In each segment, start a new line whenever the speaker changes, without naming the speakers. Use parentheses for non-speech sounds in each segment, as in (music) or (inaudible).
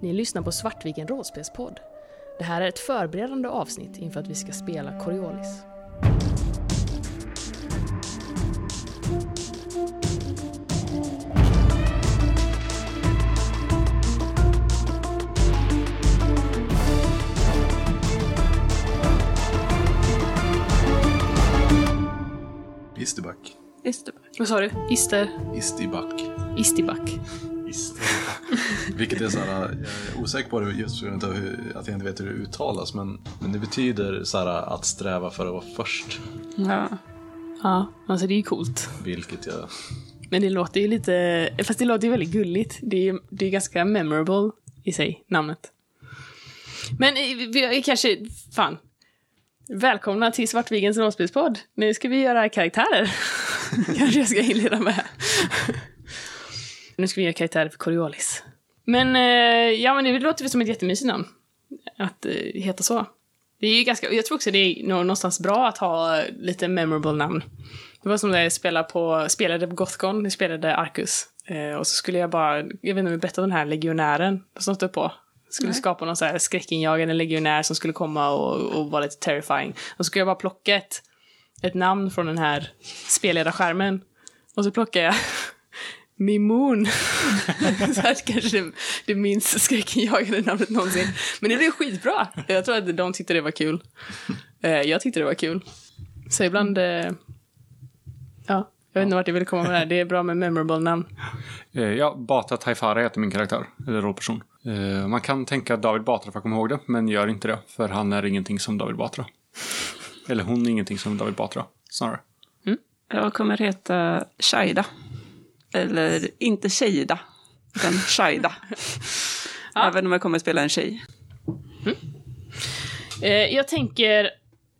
Ni lyssnar på Svartviken rollspelspodd. Det här är ett förberedande avsnitt inför att vi ska spela Coriolis.
Isterback.
Isterback.
Vad sa du? Ister?
Istiback.
Istiback.
(laughs) Vilket är såhär, jag är osäker på det just på grund av hur, att jag inte vet hur det uttalas. Men, men det betyder såhär att sträva för att vara först.
Ja.
Ja, alltså det är ju coolt.
Vilket jag...
Men det låter ju lite... Fast det låter ju väldigt gulligt. Det är ju det är ganska memorable i sig, namnet. Men eh, vi vi kanske... Fan. Välkomna till Svartvigens rollspelspodd. Nu ska vi göra karaktärer. kanske jag ska inleda med. nu ska vi göra karaktärer för Coriolis. Men eh, ja, men det låter väl som ett jättemysigt namn. Att eh, heta så. Det är ju ganska, jag tror också det är nå- någonstans bra att ha eh, lite memorable namn. Det var som när jag spelade på, spelade på Gothcon, jag spelade Arcus. Eh, och så skulle jag bara, jag vet inte om jag berättade om den här legionären som stod på. Skulle skapa någon så här skräckinjagande legionär som skulle komma och, och vara lite terrifying. Och så skulle jag bara plocka ett, ett namn från den här spelledarskärmen. Och så plockade jag (laughs) Mimoon. (laughs) så här kanske det, det minst skräckinjagande namnet någonsin. Men det blev skitbra. Jag tror att de tyckte det var kul. Eh, Jag tyckte det var kul. Så ibland... eh, Ja, jag vet inte vart jag ville komma med det här. Det är bra med memorable namn.
Eh, Ja, Batra Taifara heter min karaktär, eller rollperson. Eh, Man kan tänka David Batra för att komma ihåg det, men gör inte det, för han är ingenting som David Batra. Eller hon är ingenting som David Batra, snarare.
Jag Eh, kommer heta Shaida. Eller inte Tjejda, utan (laughs) Shaida. Även om jag kommer spela en tjej.
Eh, jag tänker,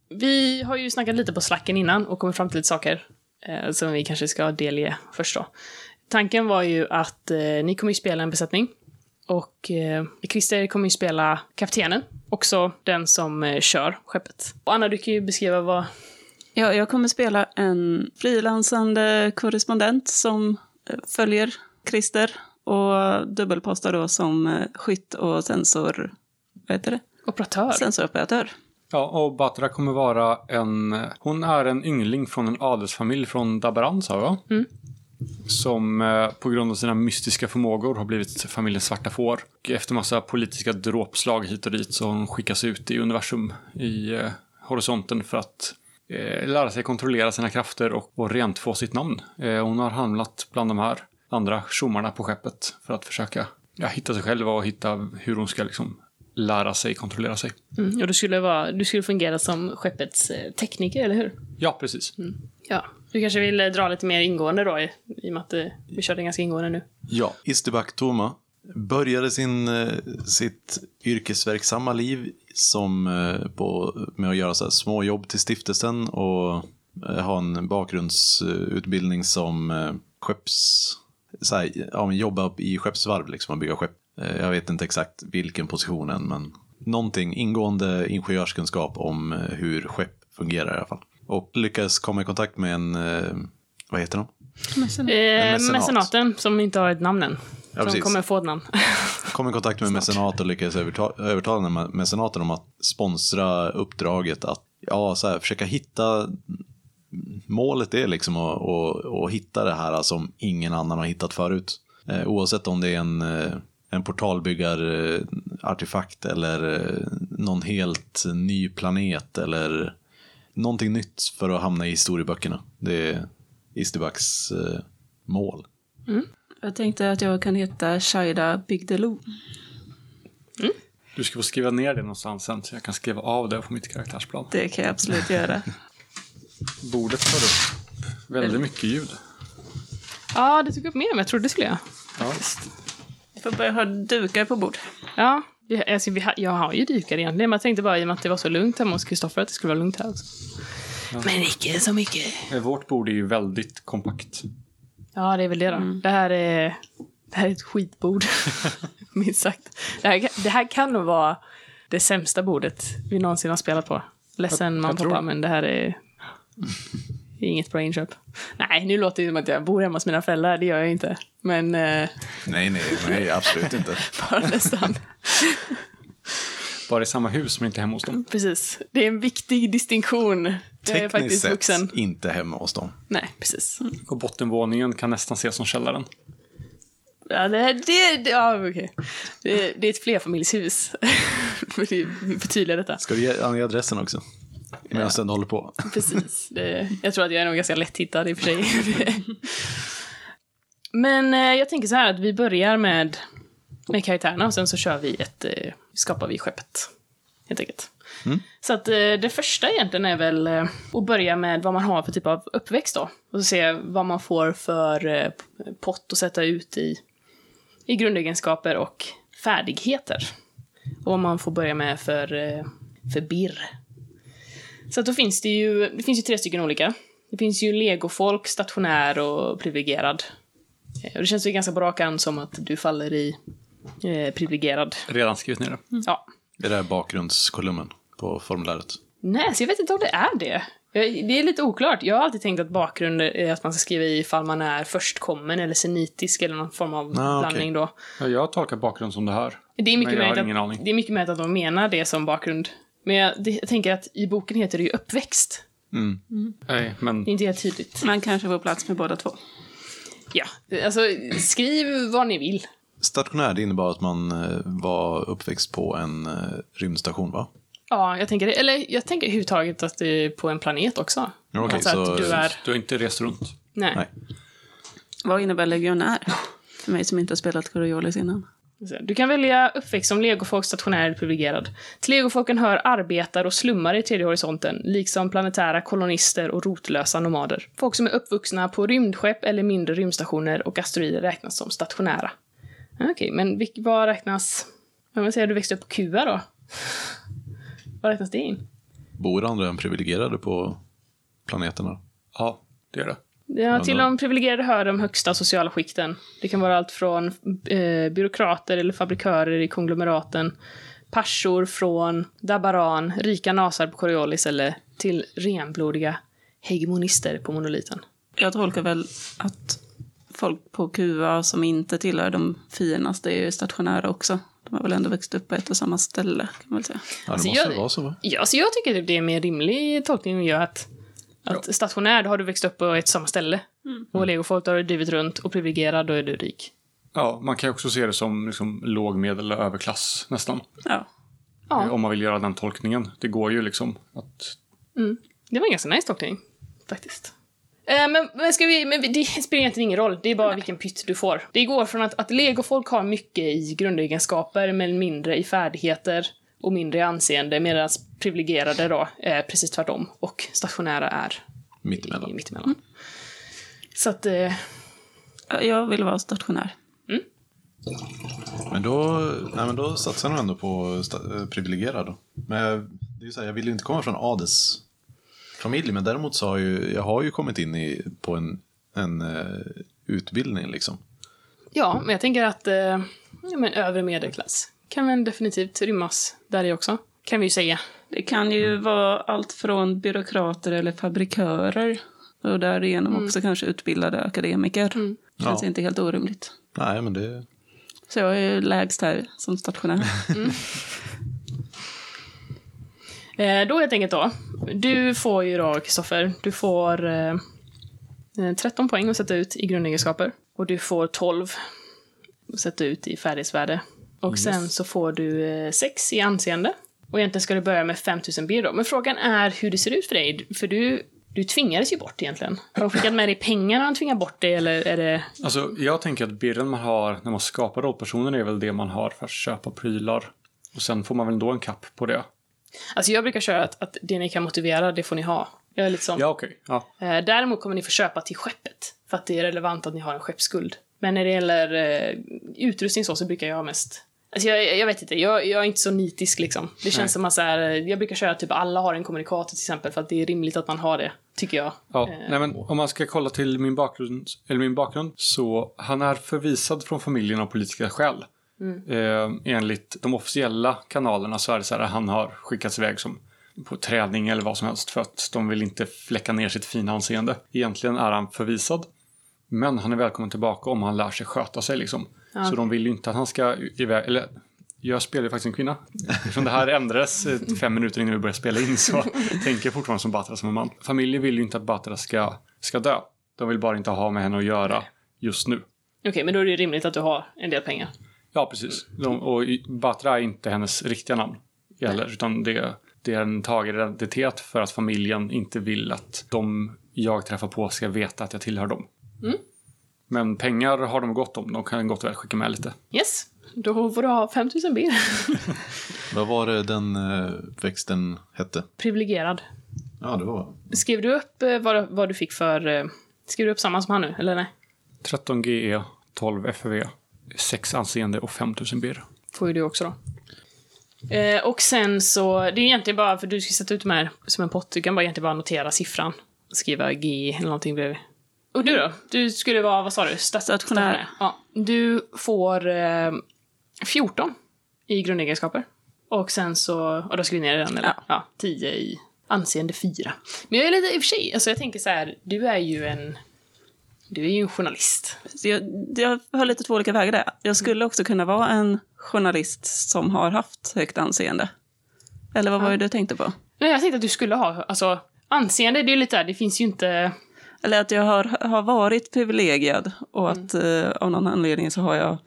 vi har ju snackat lite på slacken innan och kommit fram till lite saker eh, som vi kanske ska delge först då. Tanken var ju att eh, ni kommer ju spela en besättning och eh, Christer kommer ju spela kaptenen, också den som eh, kör skeppet. Och Anna, du kan ju beskriva vad...
Ja, jag kommer spela en frilansande korrespondent som eh, följer Christer och dubbelpostar då som eh, skytt och sensor... Vad heter det?
Operatör.
Sensoroperatör.
Ja, och Batra kommer vara en... Hon är en yngling från en adelsfamilj från Dabaran, sa jag.
Mm.
Som eh, på grund av sina mystiska förmågor har blivit familjens svarta får. Och efter massa politiska dråpslag hit och dit så har hon skickats ut i universum, i eh, horisonten för att eh, lära sig kontrollera sina krafter och, och rent få sitt namn. Eh, hon har hamnat bland de här andra tjommarna på skeppet för att försöka ja, hitta sig själv och hitta hur hon ska liksom lära sig kontrollera sig.
Mm, och du skulle, vara, du skulle fungera som skeppets eh, tekniker, eller hur?
Ja, precis.
Ja. Du kanske vill eh, dra lite mer ingående då, i, i och med att eh, vi körde ganska ingående nu.
Ja, Isterback Toma började sin, eh, sitt yrkesverksamma liv som, eh, på, med att göra så här småjobb till stiftelsen och eh, ha en bakgrundsutbildning som eh, skepps... Så här, ja, men jobba i skeppsvarv liksom och bygga skepp. Eh, Jag vet inte exakt vilken position än, men någonting ingående ingenjörskunskap om eh, hur skepp fungerar i alla fall. Och lyckades komma i kontakt med en, eh, vad heter de?
Eh,
mecenat.
mecenaten som inte har ett namn än. som
precis.
kommer få ett namn. (laughs)
kom i kontakt med mecenat och lyckades överta- övertala den här mecenaten om att sponsra uppdraget att ja, så här, försöka hitta målet är liksom att, att, att hitta det här som ingen annan har hittat förut. Eh, oavsett om det är en, eh, en portalbyggarartefakt eller eh, någon helt ny planet eller någonting nytt för att hamna i historieböckerna. Det är Isterbacks eh, mål.
Jag tänkte att jag kan heta Shaida Bigdeloo.
Du ska få skriva ner det någonstans sen så jag kan skriva av det på mitt karaktärsplan.
Det kan jag absolut göra.
Bordet tar upp väldigt mycket ljud.
ja, det tog upp mer än vad jag trodde det skulle göra.
Ja.
(laughs) Jag får börja ha dukar på bord.
Ja, vi, alltså, vi, ha- jag har ju dykar egentligen, men jag tänkte bara i och med att det var så lugnt hemma hos Kristoffer att det skulle vara lugnt här också. Men icke så mycket.
Eh, Vårt bord är ju väldigt kompakt.
Ja, det är väl det då. Det, här är, det här är ett skitbord, minst sagt. Det här, kan- det här kan nog vara det sämsta bordet vi någonsin har spelat på. Ledsen
Jag- jag
mamma och pappa,
tror-
men det här är inget bra inköp. Nej, nu låter det som att jag bor hemma hos mina föräldrar, det gör jag inte. Men eh,
Nej, nej, nej, absolut inte.
bara nästan.
Bara i samma hus men inte hemma hos dem.
precis. Det är en viktig distinktion. Jag är
Tekniskt
faktiskt
sett
vuxen.
inte hemma hos dem.
Nej, precis.
Och bottenvåningen kan nästan ses som källaren.
Ja, det, det, det, ja, okej. det, det är ett flerfamiljshus. (laughs) För det förtydligar detta.
Ska du ge- ange adressen också? Medan den håller på.
(laughs) Precis. Det, jag tror att jag är nog ganska lätthittad i och för sig. (laughs) Men eh, jag tänker så här att vi börjar med, med karaktärerna och sen så kör vi ett, eh, skapar vi skeppet. Helt enkelt. Så att eh, det första egentligen är väl eh, att börja med vad man har för typ av uppväxt då. Och så se vad man får för eh, pott att sätta ut i, i grundegenskaper och färdigheter. Och vad man får börja med för, eh, för birr. Så att då finns det ju, det finns ju tre stycken olika. Det finns ju legofolk, stationär och privilegierad. Eh, Och det känns ju ganska på rak arm som att du faller i eh, privilegierad.
Redan skrivit ner det.
Ja.
Det där är bakgrundskolumnen på formuläret.
Nej, så jag vet inte om det är det. Jag- Det är lite oklart. Jag har alltid tänkt att bakgrund är att man ska skriva i ifall man är förstkommen eller senitisk eller någon form av
Ah, okej.
blandning då.
Ja, Jag tolkar bakgrund som det här.
Det är mycket,
Men jag har
möjligt
ingen aning.
att, det är mycket möjligt att de menar det som bakgrund. Men jag, det, jag tänker att i boken heter det ju uppväxt.
Nej, men
Det är inte helt tydligt.
Man kanske får plats med båda två.
Ja, alltså skriv vad ni vill.
Stationär, det innebar att man eh, var uppväxt på en eh, rymdstation, va?
Ja, jag tänker det. Eller jag tänker överhuvudtaget att det är på en planet också.
Ja, okej,
alltså
så-
att du är...
du har inte rest runt.
Nej.
Nej.
Vad innebär legionär? För mig som inte har spelat Coriolis innan.
Du kan välja uppväxt som legofolk, stationär eller privilegierad. Till legofolken hör arbetare och slummare i tredje horisonten, liksom planetära kolonister och rotlösa nomader. Folk som är uppvuxna på rymdskepp eller mindre rymdstationer och asteroider räknas som stationära. Okej, men vilk, vad räknas... Om jag säger att du växte upp på Kuba då? (laughs) Vad räknas det in?
Bor andra än privilegierade på planeterna?
Ja, det är det.
Ja, till
då-
de privilegierade hör de högsta sociala skikten. Det kan vara allt från eh, byråkrater eller fabrikörer i konglomeraten, parsor från Dabaran, rika nasar på Coriolis eller till renblodiga hegemonister på monoliten.
Jag tolkar väl att folk på QA som inte tillhör de finaste är ju stationära också. De har väl ändå växt upp på ett och samma ställe kan man väl säga.
Ja, det
Alltså,
måste
jag-
väl vara så, va?
Ja, så jag tycker typ det är en mer rimlig tolkning att göra att, att stationär, då har du växt upp på ett samma ställe. Och legofolk, då har du drivit runt. Och privilegierad, då är du rik.
Ja, man kan ju också se det som liksom, låg, medel eller överklass nästan.
Ja.
Ja.
Om man vill göra den tolkningen. Det går ju liksom att...
Det var en ganska nice tolkning, faktiskt. Eh, men, men, ska vi, men vi- det spelar egentligen ingen roll, det är bara vilken pytt du får. Det går från att, att legofolk har mycket i grundegenskaper, men mindre i färdigheter och mindre i anseende, medan privilegierade då är precis tvärtom och stationära är i
Mittemellan.
mittemellan. Så att, eh,
Jag vill vara stationär.
Men då, nej, men då satsar jag nog ändå på sta- eh, privilegierad. Då. Men jag, det är ju så här, jag vill ju inte komma från Ades familj, men däremot så har ju, jag har ju kommit in i, på en, en eh, utbildning liksom.
ja, men jag tänker att eh, ja, men övre medelklass kan väl definitivt rymmas där i också, kan vi ju säga.
Det kan ju vara allt från byråkrater eller fabrikörer och därigenom också kanske utbildade akademiker. Känns
Ja.
inte helt orimligt.
Nej, men det...
Så jag är ju lägst här som stationär.
Eh, då helt enkelt då. Du får ju då, Kristoffer, du får eh, eh, 13 poäng att sätta ut i grundegenskaper. Och du får 12 att sätta ut i färdighetsvärde. Och sen så får du eh, 6 i anseende. Och egentligen ska du börja med 5000 bir då. Men frågan är hur det ser ut för dig. För du, du tvingades ju bort egentligen. Har de skickat med dig pengar när de tvingar bort dig eller är det...
Alltså, jag tänker att birren man har när man skapar rollpersonen är väl det man har för att köpa prylar. Och sen får man väl ändå en kapp på det.
Alltså jag brukar köra att, att det ni kan motivera, det får ni ha. Jag är lite sån.
Ja, okej. Ja.
Eh, Däremot kommer ni få köpa till skeppet, för att det är relevant att ni har en skeppsskuld. Men när det gäller eh, utrustning så, så brukar jag mest... Alltså jag, jag vet inte, jag, jag är inte så nitisk liksom. Det känns
Nej.
som att så här, eh, jag brukar köra typ alla har en kommunikator till exempel, för att det är rimligt att man har det, tycker jag.
Ja, nej men om man ska kolla till min bakgrund, eller min bakgrund så han är förvisad från familjen av politiska skäl. Eh, enligt de officiella kanalerna så är det så här att han har skickats iväg som på träning eller vad som helst för att de vill inte fläcka ner sitt fina anseende. Egentligen är han förvisad. Men han är välkommen tillbaka om han lär sig sköta sig liksom.
Ja,
Så
okej.
de vill ju inte att han ska iväg, eller jag spelar ju faktiskt en kvinna. Eftersom det här ändrades eh, fem minuter innan vi började spela in så tänker jag fortfarande som Batra som en man. Familjen vill ju inte att Batra ska, ska dö. De vill bara inte ha med henne att göra just nu.
Okej, men då är det ju rimligt att du har en del pengar.
Ja, precis. De, och i- Batra är inte hennes riktiga namn heller, utan det, det är en tagen identitet för att familjen inte vill att de jag träffar på ska veta att jag tillhör dem.
Mm.
Men pengar har de gott om, de kan gott och väl skicka med lite.
Yes, då får du ha 5000 bil.
Vad var det den eh, växten hette?
(laughs) Privilegierad.
Ja, det var...
Skrev du upp eh, vad, vad du fick för... eh, Skrev du upp samma som han nu, eller nej?
13 GE, 12 FV, 6 anseende och 5000 BR.
Får ju du också då. Eh, och sen så, det är egentligen bara för du ska sätta ut de här som en pott. Du kan bara egentligen bara notera siffran. Skriva G eller någonting bredvid. Och du då? Du skulle vara, vad sa du? Stat-
Stationär.
stationär. Ja. Du får eh, 14 i grundegenskaper. Och sen så, och då ska vi ner i den eller? Ja.
Ja.
10 i anseende 4. Men jag är lite, i och för sig, alltså jag tänker så här, du är ju en, du är ju en journalist.
Så jag, jag har lite två olika vägar där. Jag skulle också kunna vara en journalist som har haft högt anseende. Eller vad var det du tänkte på?
Nej, jag tänkte att du skulle ha, alltså anseende, det är ju lite där, det finns ju inte...
Eller att jag har, har varit privilegierad och att eh, av någon anledning så har jag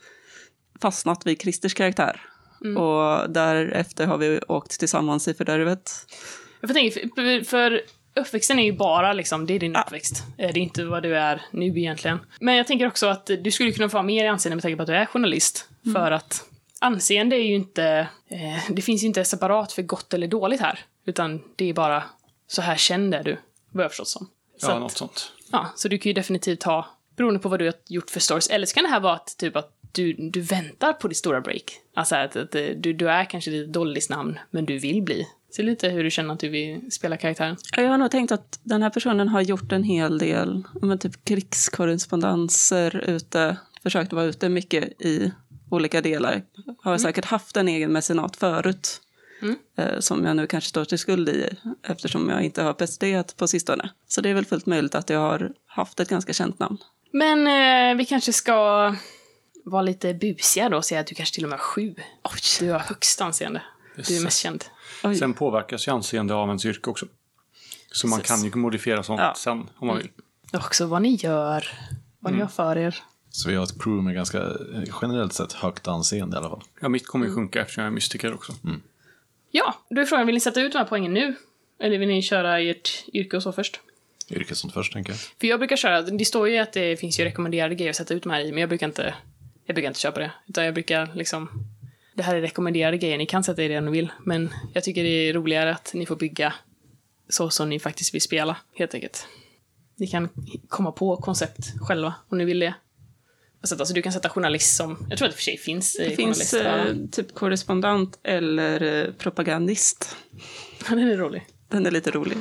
fastnat vid Christers karaktär. Och därefter har vi åkt tillsammans i fördärvet.
Jag får tänka, för, för uppväxten är ju bara liksom, det är din
Ja.
uppväxt. Eh, Det är inte vad du är nu egentligen. Men jag tänker också att eh, du skulle kunna få ha mer i anseende med tanke på att du är journalist. För att anseende är ju inte, eh, det finns ju inte separat för gott eller dåligt här. Utan det är bara, så här känd är du, vad jag förstått som. Så
Ja,
att-
något sånt.
Ja, så du kan ju definitivt ha, beroende på vad du har gjort för stories, eller så kan det här vara att, typ att du, du väntar på ditt stora break. Alltså att, att eh, du, du är kanske lite dollisnamn, men du vill bli. Så lite hur du känner att du vill spela karaktären.
Ja, Jag har nog tänkt att den här personen har gjort en hel del ja, men typ krigskorrespondenser ute, försökt vara ute mycket i olika delar. Har säkert haft en egen mecenat förut eh, som jag nu kanske står till skuld i eftersom jag inte har presterat på sistone. Så det är väl fullt möjligt att jag har haft ett ganska känt namn.
Men eh, vi kanske ska vara lite busiga då och säga att du kanske till och med har sju. Du har högst anseende. Du är mest känd.
Oj.
Sen påverkas ju anseende av ens yrke också. Så man
Precis. Mm.
kan ju modifiera sånt
Ja.
sen om man vill.
Och också vad ni gör, vad ni har för er.
Så vi har ett crew med ganska eh, generellt sett högt anseende i alla fall.
Ja, mitt kommer ju sjunka eftersom jag är mystiker också.
Ja, då är frågan, vill ni sätta ut de här poängen nu? Eller vill ni köra ert yrke och så först?
Yrke sånt först, tänker jag.
För jag brukar köra, det står ju att det finns ju rekommenderade grejer att sätta ut de här i, men jag brukar inte, jag brukar inte köpa det. Utan jag brukar liksom, det här är rekommenderade grejer, ni kan sätta i det om ni vill, men jag tycker det är roligare att ni får bygga så som ni faktiskt vill spela, helt enkelt. Ni kan komma på koncept själva, om ni vill det. Och sätta, så du kan sätta journalist som, jag tror att det i och för sig finns eh,
Det finns eh,
journalist.
typ korrespondent eller eh, propagandist.
Ja, (laughs) den är rolig.
Den är lite rolig.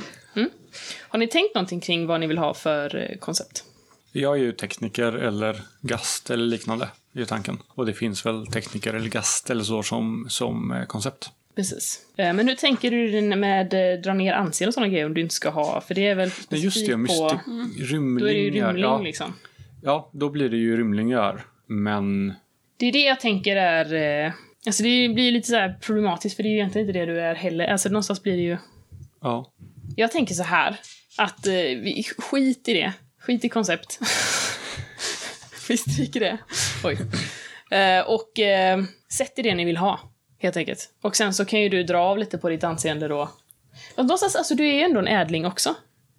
Har ni tänkt någonting kring vad ni vill ha för eh, koncept?
Jag är ju tekniker eller gast eller liknande i tanken. Och det finns väl tekniker eller gast eller så som, som eh, koncept.
Precis. Eh, Men hur tänker du din- med eh, dra ner anseende och sådana grejer om du inte ska ha? För det är väl
Nej, just det,
specifikt
mystik,
på... Mm.
rymlingar.
Då är det ju rymling
ja,
liksom.
ja, då blir det ju rymlingar. Men
Det är det jag tänker är... eh, Alltså det blir ju lite så här problematiskt för det är ju egentligen inte det du är heller. Alltså någonstans blir det ju...
ja,
Jag tänker så här. Att eh, vi, skit i det. Skit i koncept.
(laughs)
vi stryker det. Oj. Eh, och eh, sätt i det ni vill ha. Helt enkelt. Och sen så kan ju du dra av lite på ditt anseende då. Och Någonstans, alltså du är ju ändå en ädling också.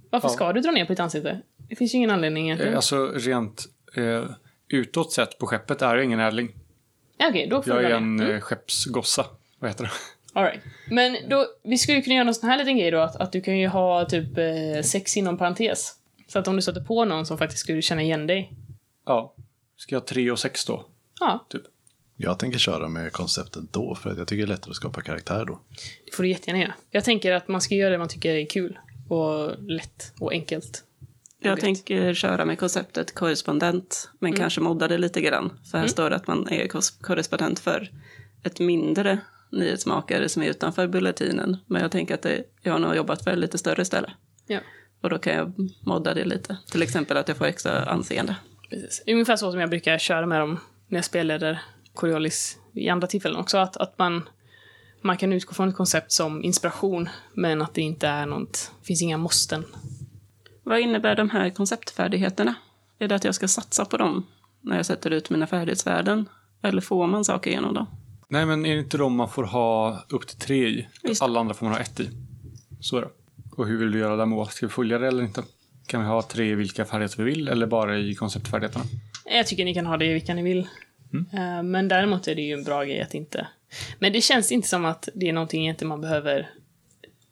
Varför
Ja.
ska du dra ner på ditt anseende? Det finns ju ingen anledning egentligen.
eh, alltså rent eh, utåt sett på skeppet är jag ingen ädling.
Ja, Okej, då får
Jag
du
är
dra
en
ner. Mm.
eh, skeppsgossa. Vad heter det? (laughs)
All right. Men då, vi skulle ju kunna göra någon sån här liten grej då, att, att du kan ju ha typ eh, sex inom parentes. Så att om du stöter på någon som faktiskt skulle känna igen dig.
Ja. Ska jag ha 3 och 6 då?
Ja,
Typ.
Jag tänker köra med konceptet då, för att jag tycker det är lättare att skapa karaktär då.
det får du jättegärna göra. Jag tänker att man ska göra det man tycker är kul. Och lätt och enkelt.
Jag
vet.
tänker köra med konceptet korrespondent, men kanske modda det lite grann. För här står det att man är kos- korrespondent för ett mindre nyhetsmakare som är utanför Bulletinen. Men jag tänker att det, jag har nog jobbat för ett lite större ställe.
Ja.
Och då kan jag modda det lite. Till exempel att jag får extra anseende.
precis. Ungefär så som jag brukar köra med dem när jag spelleder Coriolis i andra tillfällen också. Att, att man, man kan utgå från ett koncept som inspiration, men att det inte är något... Det finns inga måsten.
Vad innebär de här konceptfärdigheterna? Är det att jag ska satsa på dem när jag sätter ut mina färdighetsvärden? Eller får man saker genom dem?
Nej, men är det inte de man får ha upp till tre i?
Visst.
Alla andra får man ha ett i. Så är det. Och hur vill du göra där med oss? Ska vi följa det eller inte? Kan vi ha tre i vilka färdigheter vi vill eller bara i konceptfärdigheterna?
Jag tycker ni kan ha det i vilka ni vill. Eh, Men däremot är det ju en bra grej att inte... Men det känns inte som att det är någonting egentligen man behöver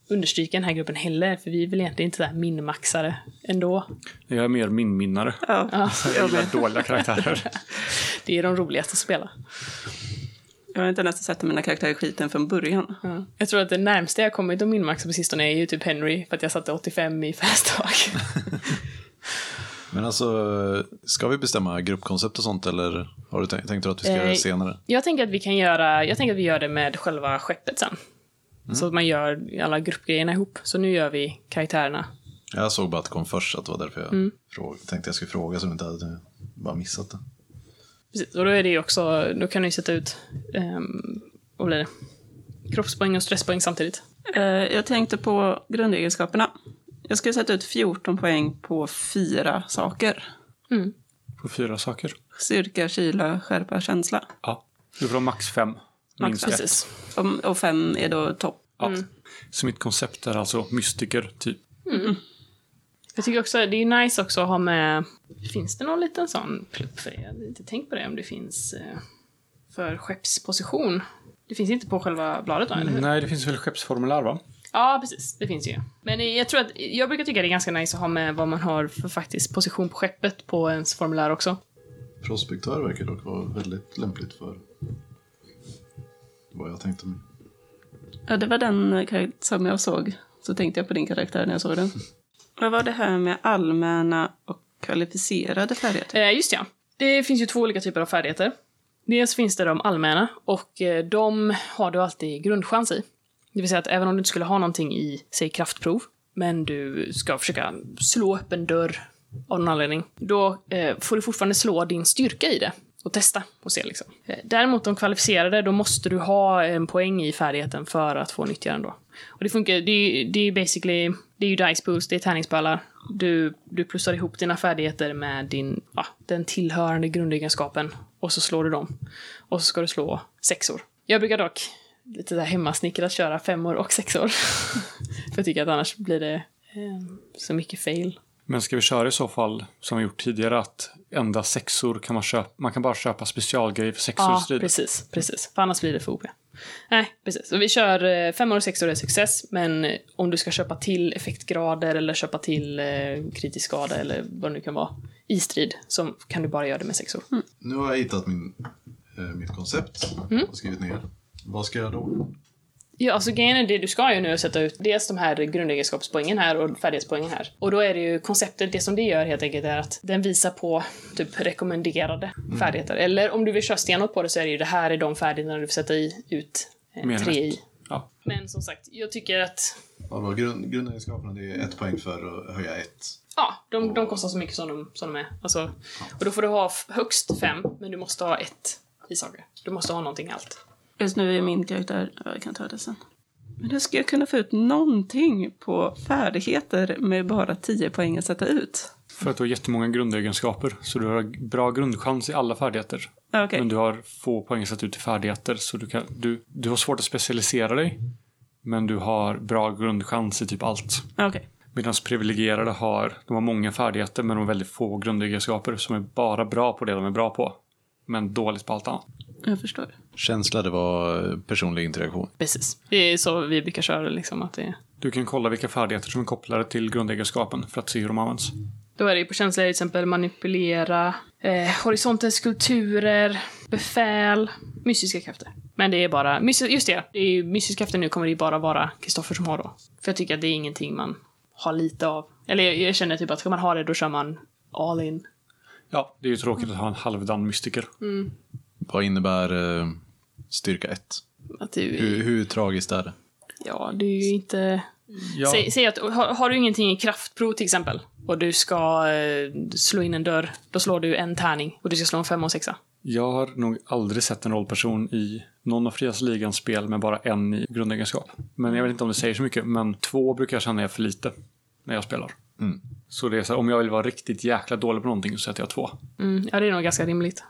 understryka i den här gruppen heller, för vi är väl egentligen inte så här minmaxare ändå.
Jag är mer
(laughs)
min-minnare.
Ja,
Jag gillar dåliga karaktärer.
Det är de roligaste att spela.
Jag har inte ens sett mina karaktärer i skiten från början.
Ja. Jag tror att det närmsta jag kommit att minmaxa på sistone är ju typ Henry, för att jag satte 85 i fast talk.
Men alltså, ska vi bestämma gruppkoncept och sånt eller har du tänkt, tänkte du att vi ska göra
Eh,
det senare?
(laughs) Jag tänker att vi kan göra, jag tänker att vi gör det med själva skeppet sen.
Mm.
Så att man gör alla gruppgrejerna ihop. Så nu gör vi karaktärerna.
Jag såg bara att det kom först, så att det var därför jag fråg, tänkte jag skulle fråga så du inte hade bara missat det.
Precis, och då är det ju också, då kan du ju sätta ut, ehm, vad blir det? Kroppspoäng och stresspoäng samtidigt.
Eh, Jag tänkte på grundegenskaperna. Jag skulle sätta ut 14 poäng på fyra saker.
Mm.
På fyra saker.
Styrka, kyla, skärpa, känsla.
Ja. Du får ha max fem. Minst ett.
Precis. Mm.
Om- Och fem är då topp.
Ja. Så mitt koncept är alltså mystiker, typ.
Jag tycker också, det är ju nice också att ha med, finns det någon liten sån plupp för det? Jag hade inte tänkt på det om det finns eh, för skeppsposition. Det finns inte på själva bladet då, eller hur?
Nej, det finns väl skeppsformulär, va?
Ja, precis. Det finns ju. Men eh, jag tror att, jag brukar tycka det är ganska nice att ha med vad man har för faktiskt position på skeppet på ens formulär också.
Prospektör verkar dock vara väldigt lämpligt för vad jag tänkte mig.
Ja, det var den eh, karaktär som jag såg. Så tänkte jag på din karaktär när jag såg den. Vad var det här med allmänna och kvalificerade färdigheter?
Eh, just ja. Det finns ju två olika typer av färdigheter. Dels finns det de allmänna och eh, de har du alltid grundchans i. Det vill säga att även om du inte skulle ha någonting i, säg kraftprov, men du ska försöka slå upp en dörr av någon anledning, då eh, får du fortfarande slå din styrka i det och testa och se liksom. Eh, Däremot de kvalificerade, då måste du ha en poäng i färdigheten för att få nyttja den då. Och det funkar, det är ju det är ju basically, det är ju dice pools, det är tärningspölar. Du, du plussar ihop dina färdigheter med din, ja, den tillhörande grundegenskapen och så slår du dem. Och så ska du slå sexor. Jag brukar dock lite där hemmasnickrat köra femmor och sexor. (laughs) För jag tycker att annars blir det eh, så mycket fail.
Men ska vi köra i så fall, som vi gjort tidigare, att endast sexor kan man köpa. Man kan bara köpa specialgrejer för sexor i
Ja,
striden.
precis, precis. För annars blir det för OP. Nej, precis. Så vi kör eh, femmor och sexor är success, men eh, om du ska köpa till effektgrader eller köpa till eh, kritisk skada eller vad det nu kan vara i strid så kan du bara göra det med sexor.
Nu har jag hittat min, eh, mitt koncept och skrivit ner. Vad ska jag då?
Ja, alltså grejen är det du ska ju nu är att sätta ut dels de här grundegenskapspoängen här och färdighetspoängen här. Och då är det ju konceptet, det som det gör helt enkelt är att den visar på typ rekommenderade färdigheter. Eller om du vill köra stenhårt på det så är det ju det här är de färdigheterna du får sätta i, ut eh,
Mer
tre
rätt.
i.
Ja.
Men som sagt, jag tycker att
Vadå, grund, grundegenskaperna det är ett poäng för att höja ett.
ja, de, de kostar så mycket som de, som de är. Alltså, och då får du ha f- högst fem, men du måste ha ett i saker. Du måste ha någonting allt.
Just nu är min karaktär... Ja, jag kan ta det sen. Men hur ska jag kunna få ut någonting på färdigheter med bara 10 poäng att sätta ut?
För att du har jättemånga grundegenskaper, så du har bra grundchans i alla färdigheter.
Ja, Okej.
Men du har få poäng satt ut i färdigheter, så du, kan, du, du har svårt att specialisera dig. Men du har bra grundchans i typ allt.
Ja, okej.
Medan privilegierade har, de har många färdigheter men de har väldigt få grundegenskaper som är bara bra på det de är bra på. Men dåligt på allt annat.
Jag förstår.
Känsla, det var eh, personlig interaktion.
Precis. Det är så vi brukar köra det, liksom. Att det är.
Du kan kolla vilka färdigheter som är kopplade till grundegenskapen för att se hur de används.
Då är det ju på känsliga till exempel manipulera, eh, horisontens skulpturer, befäl, mystiska krafter. Men det är bara, mysti- just det, det är ju, mystiska krafter nu kommer det ju bara vara Kristoffer som har då. För jag tycker att det är ingenting man har lite av. Eller jag, jag känner typ att ska man ha det då kör man all in.
Ja, det är ju tråkigt att ha en halvdan mystiker.
Vad innebär eh, styrka ett?
Att det, är-
Hur, hur tragiskt är det?
Ja, det är ju inte...
Ja,
Säg, säg att, har, har du ingenting i kraftprov till exempel, och du ska eh, slå in en dörr, då slår du en tärning och du ska slå en femma och sexa.
jag har nog aldrig sett en rollperson i någon av Frias ligans spel med bara en i grundegenskap. Men jag vet inte om det säger så mycket, men två brukar jag känna är för lite när jag spelar. Så det är så här, om jag vill vara riktigt jäkla dålig på någonting så sätter jag två.
Mm, ja, det är nog ganska rimligt.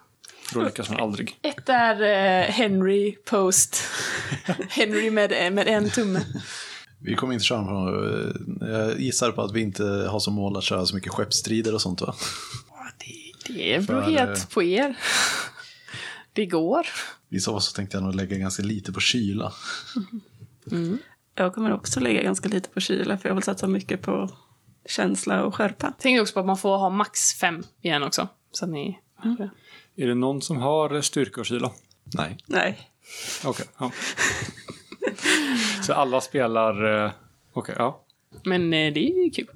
Då lyckas man aldrig.
Ett är eh, Henry Post. (laughs) Henry med, eh, med en tumme.
Vi kommer inte köra på, eh, jag gissar på att vi inte har som mål att köra så mycket skeppsstrider och sånt va?
Det beror
För, eh,
helt på er. (laughs) Det går.
I så fall så tänkte jag nog lägga ganska lite på kyla.
Jag kommer också lägga ganska lite på kyla för jag vill satsa mycket på känsla och skärpa.
Tänk också på att man får ha max fem igen också. Så att ni...
Är det någon som har styrka och kyla?
Nej.
Nej,
Okej. ja. Så alla spelar... eh, Okej, ja.
Men eh, det är ju kul.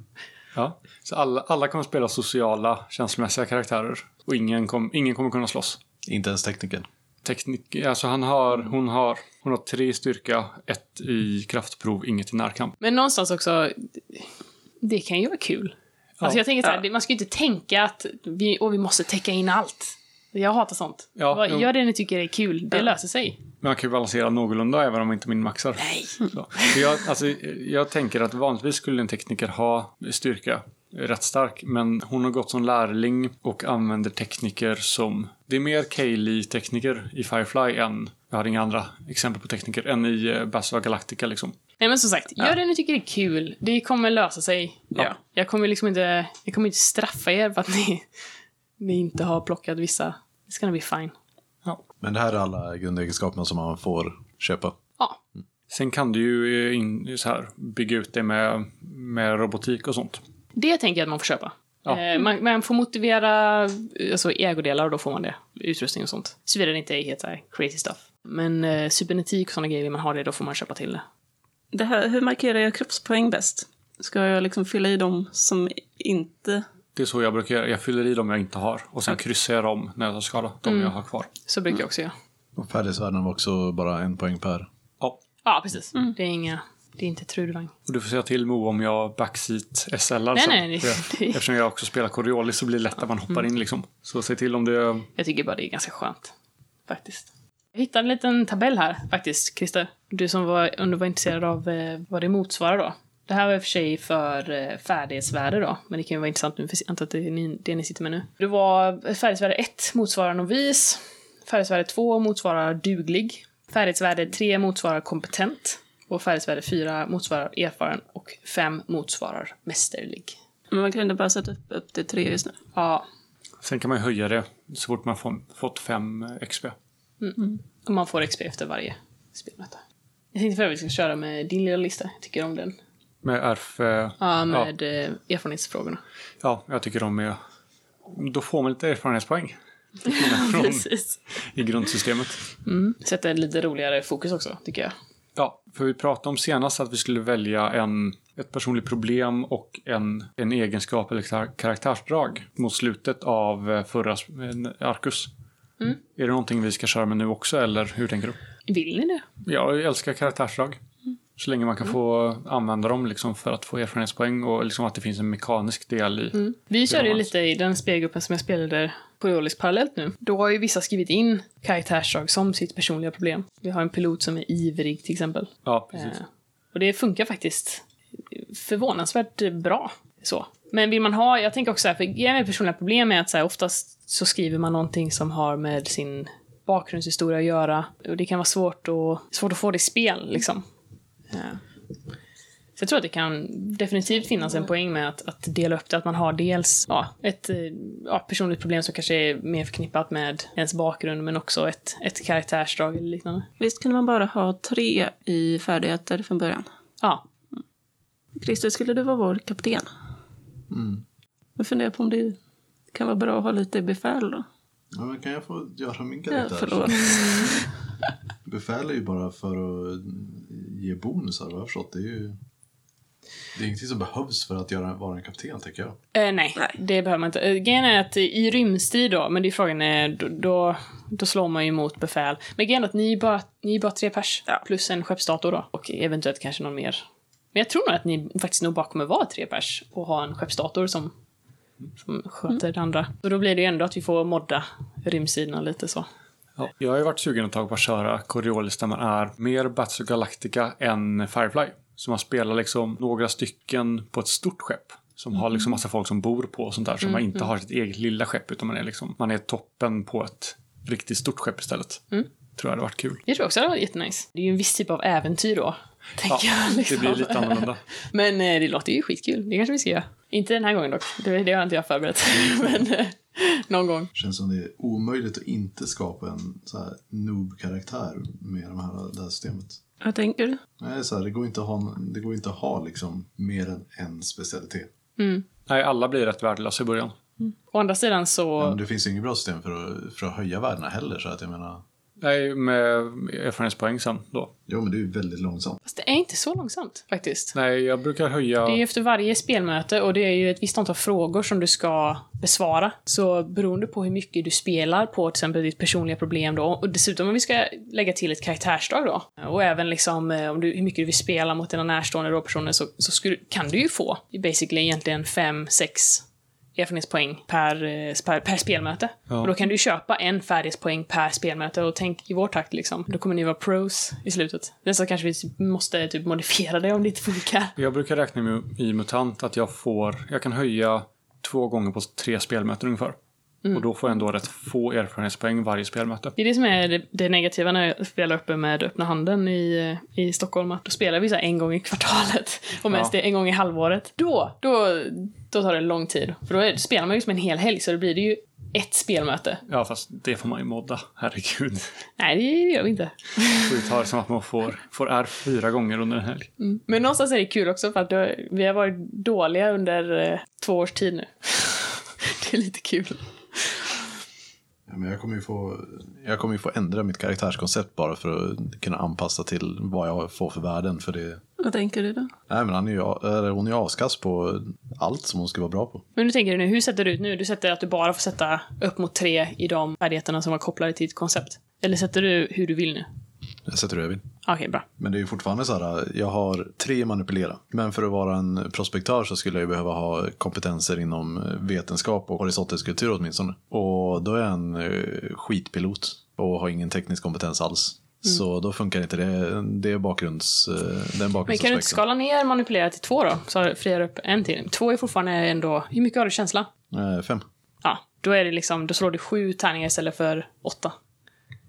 ja. Så alla, alla kommer spela sociala, känslomässiga karaktärer. Och ingen, kom, ingen kommer kunna slåss.
Inte ens tekniken.
Teknik, alltså han har, hon har, hon har tre i styrka, ett i kraftprov, inget i närkamp.
Men någonstans också, det kan ju vara kul. Alltså jag tänker så här, det- man ska ju inte tänka att vi, åh, vi måste täcka in allt. Jag hatar sånt.
Ja,
Vad-
jo.
Gör det ni tycker är kul, det löser sig.
Men han kan ju balansera någorlunda även om inte min maxar.
Nej.
Så. För Jag, alltså, jag tänker att vanligtvis skulle en tekniker ha styrka rätt stark, men hon har gått som lärling och använder tekniker som... Det är mer Kaylee-tekniker i Firefly än... Jag har inga andra exempel på tekniker än i eh, Battlestar Galactica liksom.
Nej men som sagt, gör det ni tycker är kul. Det kommer lösa sig.
Ja.
Jag kommer liksom inte, jag kommer inte straffa er för att ni, (laughs) ni inte har plockat vissa. It's gonna be fine.
Men det här är alla grundegenskaperna som man får köpa.
Ja.
Sen kan du ju eh, in, så här, bygga ut det med, med robotik och sånt.
Det tänker jag att man får köpa.
Ja.
Eh, Man, man får motivera eh, alltså, ägodelar och då får man det. Utrustning och sånt. Såvida det inte är helt så här crazy stuff. Men eh, cybernetik och sådana grejer, vill man har det, då får man köpa till det.
det här, hur markerar jag kroppspoäng bäst? Ska jag liksom fylla i dem som inte...
Det är så jag brukar göra. Jag fyller i dem jag inte har och sen kryssar jag dem när jag tar skada. De
Mm.
jag har kvar.
Så brukar jag också göra.
Och färdighetsvärden var också bara en poäng per.
Ja.
Ja, precis. Det är inga... Det är inte trudvagn.
Och du får säga till Mo om jag backseat SL'ar
Nej,
sen.
nej,
För
det- Mm.
jag- Eftersom jag också spelar Coriolis så blir det lätt att man hoppar in liksom. Så säg till om det...
Jag tycker bara det är ganska skönt. Faktiskt. Jag hittade en liten tabell här, faktiskt, Christer. Du som var, om du var intresserad av eh, vad det motsvarar då. Det här var i och för sig för eh, färdighetsvärde då, men det kan ju vara intressant nu, för jag antar att det är ni, det ni sitter med nu. Det var färdighetsvärde 1 motsvarar novis. Färdighetsvärde 2 motsvarar duglig. Färdighetsvärde 3 motsvarar kompetent. Och färdighetsvärde 4 motsvarar erfaren och 5 motsvarar mästerlig.
Men man kunde bara sätta upp, upp till tre just nu.
Ja,
Sen kan man ju höja det så fort man får, fått fem eh, XP.
Och man får XP efter varje spelmöte. Jag tänkte för övrigt ska köra med din lilla lista. Jag tycker om den.
Med RF... eh,
Ja, med eh, erfarenhetsfrågorna.
ja, jag tycker de är... Då får man lite
(laughs)
erfarenhetspoäng. Till skillnad från
Precis.
I grundsystemet.
Sätter lite roligare fokus också, tycker jag.
Ja, för vi pratade om senast att vi skulle välja en, ett personligt problem och en, en egenskap eller kar- karaktärsdrag mot slutet av eh, förra s- en- Arkus. Är det någonting vi ska köra med nu också, eller hur tänker du?
Vill ni det?
Ja, jag älskar karaktärsdrag. Så länge man kan få använda dem liksom för att få erfarenhetspoäng och liksom att det finns en mekanisk del i.
Vi körde ju
man.
lite i den spelgruppen som jag spelade på Jolis parallellt nu. Då har ju vissa skrivit in karaktärsdrag som sitt personliga problem. Vi har en pilot som är ivrig till exempel.
Ja, precis.
Eh, Och det funkar faktiskt förvånansvärt bra. Så. Men vill man ha, jag tänker också så här, för grejen med personliga problem är att så här, oftast så skriver man någonting som har med sin bakgrundshistoria att göra. Och det kan vara svårt, och, svårt att få det i spel liksom. Eh, Så jag tror att det kan definitivt finnas en poäng med att, att dela upp det, att man har dels ja, ett eh, ja, personligt problem som kanske är mer förknippat med ens bakgrund, men också ett, ett karaktärsdrag eller liknande.
Visst kunde man bara ha tre i färdigheter från början?
Ja,
Christer, skulle du vara vår kapten? Mm. Jag funderar på om det kan vara bra att ha lite befäl då.
Ja, men kan jag få göra min
Ja, förlåt.
Befäl är ju bara för att ge bonusar vad jag har förstått. Det är ju det är ingenting som behövs för att göra, vara en kapten tycker jag.
Eh, nej,
Nej.
det behöver man inte. Eh, Grejen är att i rymdstrid då, men det är frågan är, då, då, då slår man ju mot befäl. Men grejen är att ni är bara, ni är bara tre pers,
Ja.
plus en skeppsdator då, och eventuellt kanske någon mer Men jag tror nog att ni faktiskt nog bara kommer vara tre pers och ha en skeppsdator som, som sköter det andra. Och då blir det ju ändå att vi får modda rymdsidorna lite så.
Ja. Jag har ju varit sugen ett tag på att köra Coriolis där man är mer Battlestar Galactica än Firefly. Så man spelar liksom några stycken på ett stort skepp. Som har liksom massa folk som bor på och sånt där. Så man inte har sitt eget lilla skepp utan man är liksom, man är toppen på ett riktigt stort skepp istället. Tror jag hade varit kul.
Jag tror också det var jättenice. Det är ju en viss typ av äventyr då.
Ja,
Tänker jag liksom.
det blir lite annorlunda.
(laughs) Men eh, det låter ju skitkul. Det kanske vi ska göra. Inte den här gången dock. Det, det har inte jag förberett. (laughs) Men eh, någon gång.
Känns som det är omöjligt att inte skapa en så här noob-karaktär med de här, det här systemet.
Vad tänker du?
Nej, så här, det, går inte att ha, det går inte att ha liksom mer än en specialitet.
Nej, alla blir rätt värdelösa i början.
Å andra sidan så...
Men det finns ju inget bra system för att, för att höja värdena heller. Så att jag menar,
Nej, med erfarenhetspoäng sen då.
jo, men det är ju väldigt långsamt.
Fast det är inte så långsamt faktiskt.
Nej, jag brukar höja...
Det är ju efter varje spelmöte och det är ju ett visst antal frågor som du ska besvara. Så beroende på hur mycket du spelar på till exempel ditt personliga problem då, och dessutom om vi ska lägga till ett karaktärsdrag då, och även liksom eh, om du, hur mycket du vill spela mot dina närstående då personer så, så skulle, kan du ju få basically egentligen fem, sex erfarenhetspoäng per, eh, per, per spelmöte.
Ja.
Och då kan du ju köpa en färdighetspoäng per spelmöte och tänk i vår takt liksom. Då kommer ni vara pros i slutet. Nästan kanske vi typ måste typ modifiera det om det inte funkar.
Jag brukar räkna med, i MUTANT att jag får, jag kan höja två gånger på tre spelmöten ungefär. Och då får jag ändå rätt få erfarenhetspoäng varje spelmöte.
Det är det som är det, det negativa när jag spelar uppe med öppna handen i, i Stockholm. Att då spelar vi så här en gång i kvartalet. (laughs) Och mest det är en gång i halvåret. Då, då, då tar det lång tid. För då är, spelar man ju som en hel helg så då blir det ju ett spelmöte.
Ja, fast det får man ju modda. Herregud.
Nej, det gör vi inte.
Får ju ta det som att man får, får R fyra gånger under en helg.
Men någonstans är det kul också för att då, vi har varit dåliga under eh, två års tid nu. (laughs) det är lite kul.
Ja, men jag, kommer ju få, jag kommer ju få ändra mitt karaktärskoncept bara för att kunna anpassa till vad jag får för värden. För det,
Vad tänker du då?
nej, men han är ju, eller hon är ju askass på allt som hon ska vara bra på.
Men nu tänker du nu, hur sätter du ut nu? Du sätter att du bara får sätta upp mot tre i de färdigheterna som var kopplade till ditt koncept. Eller sätter du hur du vill nu?
Jag sätter hur jag vill.
Okej, bra.
Men det är ju fortfarande så här, jag har tre manipulera. Men för att vara en prospektör så skulle jag ju behöva ha kompetenser inom vetenskap och horisontisk kultur åtminstone. Och då är jag en eh, skitpilot och har ingen teknisk kompetens alls. Så då funkar inte det. Det är bakgrunds, eh, den
Mm. Men kan du inte
bakgrundsaspekten.
skala ner manipulera till två då? Så friar du upp en till. Två är fortfarande ändå... Hur mycket har du känsla?
Eh, Fem.
Ja, då är det liksom... Då slår du sju tärningar istället för åtta.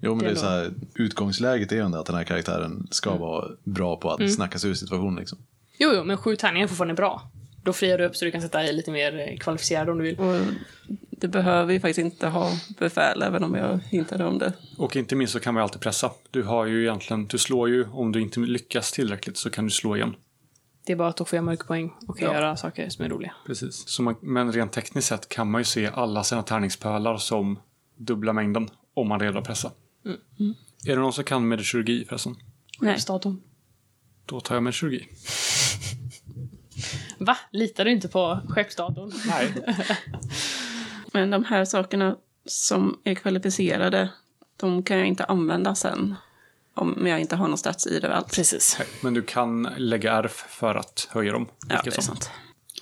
Jo, men det är
Det Mm.
så här, utgångsläget är ju ändå att den här karaktären ska vara bra på att snacka sig ur situationen. Liksom.
Jo, jo, men sju tärningar är fortfarande bra. Då friar du upp så du kan sätta i lite mer eh, kvalificerade om du vill.
Och det behöver ju faktiskt inte ha befäl, även om jag hintade om det.
Och inte minst så kan man ju alltid pressa. Du har ju egentligen, du slår ju, om du inte lyckas tillräckligt så kan du slå igen.
Det är bara att då får jag mörkerpoäng och kan
Ja.
göra saker som är roliga.
Precis. Så man, men rent tekniskt sett kan man ju se alla sina tärningspölar som dubbla mängden om man redan pressar. Är det någon som kan mediturgi förresten?
Nej.
Statum.
Då tar jag mediturgi.
Va? Litar du inte på skeppsdatorn?
Nej.
Men de här sakerna som är kvalificerade, de kan jag inte använda sen. Om jag inte har någon stats i det alls.
Precis.
Men du kan lägga ärf för att höja dem.
Ja,
vilket
det är
som-
sant.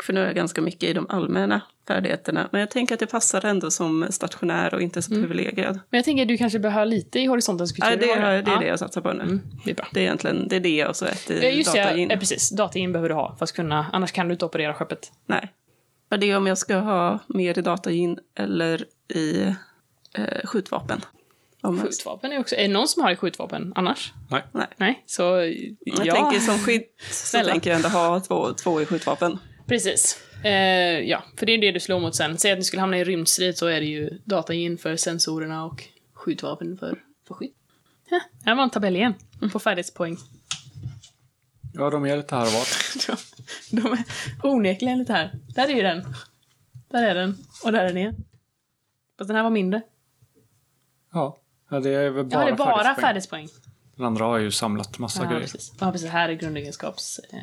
För nu är jag ganska mycket i de allmänna färdigheterna. Men jag tänker att det passar ändå som stationär och inte som
Mm.
privilegierad.
Men jag tänker att du kanske bör ha lite i horisontens kultur.
Ja, det,
Har du?
är, det
Ja,
är
Mm,
det jag satsar på nu.
Det är bra.
Det är egentligen det, är det och så ett i
Ja, just det. Ja,
data in.
precis. Datain behöver du ha för att kunna... Annars kan du inte operera skeppet.
Nej. Och det är om jag ska ha mer i data in eller i eh, skjutvapen. Om jag-
Skjutvapen är också... Är det någon som har ett skjutvapen annars?
Nej.
Nej.
Nej, så...
Jag
ja.
tänker som skytt så
Snälla.
tänker jag ändå ha två, två i skjutvapen.
Precis. Eh, ja, för det är det du slår mot sen. Säg att ni skulle hamna i rymdstrid så är det ju datagen för sensorerna och skjutvapen för, för skydd. Huh, här var en tabell igen. På färdighetspoäng.
Ja, de är lite här och var.
De, (laughs) de är onekligen lite här. Där är ju den. Där är den. Och där är den igen. Fast den här var mindre.
Ja. ja, det är väl
Jag
bara,
hade bara
färdighetspoäng.
färdighetspoäng.
Den andra har ju samlat massa
Ja,
grejer.
precis. Ja, precis. Här är grundegenskaps... Eh,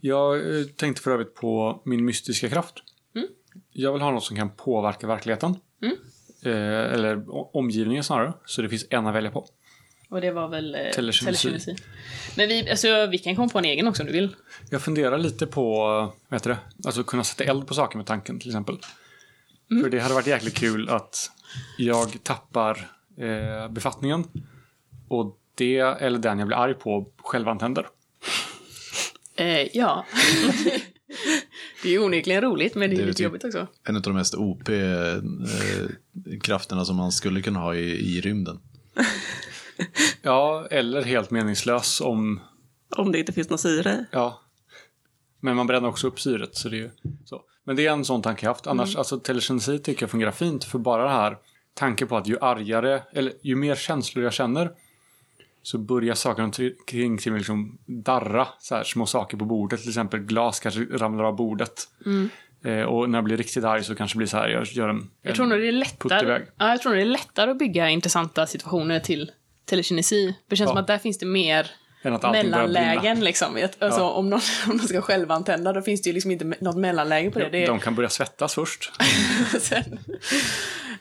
Jag eh, tänkte för övrigt på min mystiska kraft. Jag vill ha något som kan påverka verkligheten. Eh, eller o- omgivningen snarare. Så det finns en att välja på.
Och det var väl eh,
Telekinesi.
telekinesi. Men vi, alltså, vi kan komma på en egen också om du vill.
Jag funderar lite på, vad heter det, alltså kunna sätta eld på saker med tanken till exempel. För det hade varit jäkligt kul att jag tappar eh, befattningen och det eller den jag blir arg på självantänder.
Eh, ja. det är ju onekligen roligt, men det är
Det är
lite
typ-
jobbigt också.
En av de mest OP-krafterna som man skulle kunna ha i, i rymden.
Ja, eller helt meningslös om,
Om det inte finns något syre.
ja. Men man bränner också upp syret så det är ju så. Men det är en sån tanke jag haft. Annars,
Mm.
alltså telekinesi tycker jag fungerar fint för bara det här tanken på att ju argare, eller ju mer känslor jag känner så börjar saker runt omkring till mig liksom darra. Så här, små saker på bordet, till exempel glas kanske ramlar av bordet.
Mm.
Eh, och när jag blir riktigt arg så kanske det blir så här, jag gör en...
Jag tror, nog det är
putt iväg.
lättare, ja, jag tror nog det är lättare att bygga intressanta situationer till telekinesi. Det känns
Ja.
som att där finns det mer
Än att allting börjar brinna.
mellanlägen. Liksom. Att- Alltså, om, någon, (laughs) om någon ska självantända, då finns det ju liksom inte me- något mellanläge på det. Det, är,
De kan börja svettas först.
(laughs) sen,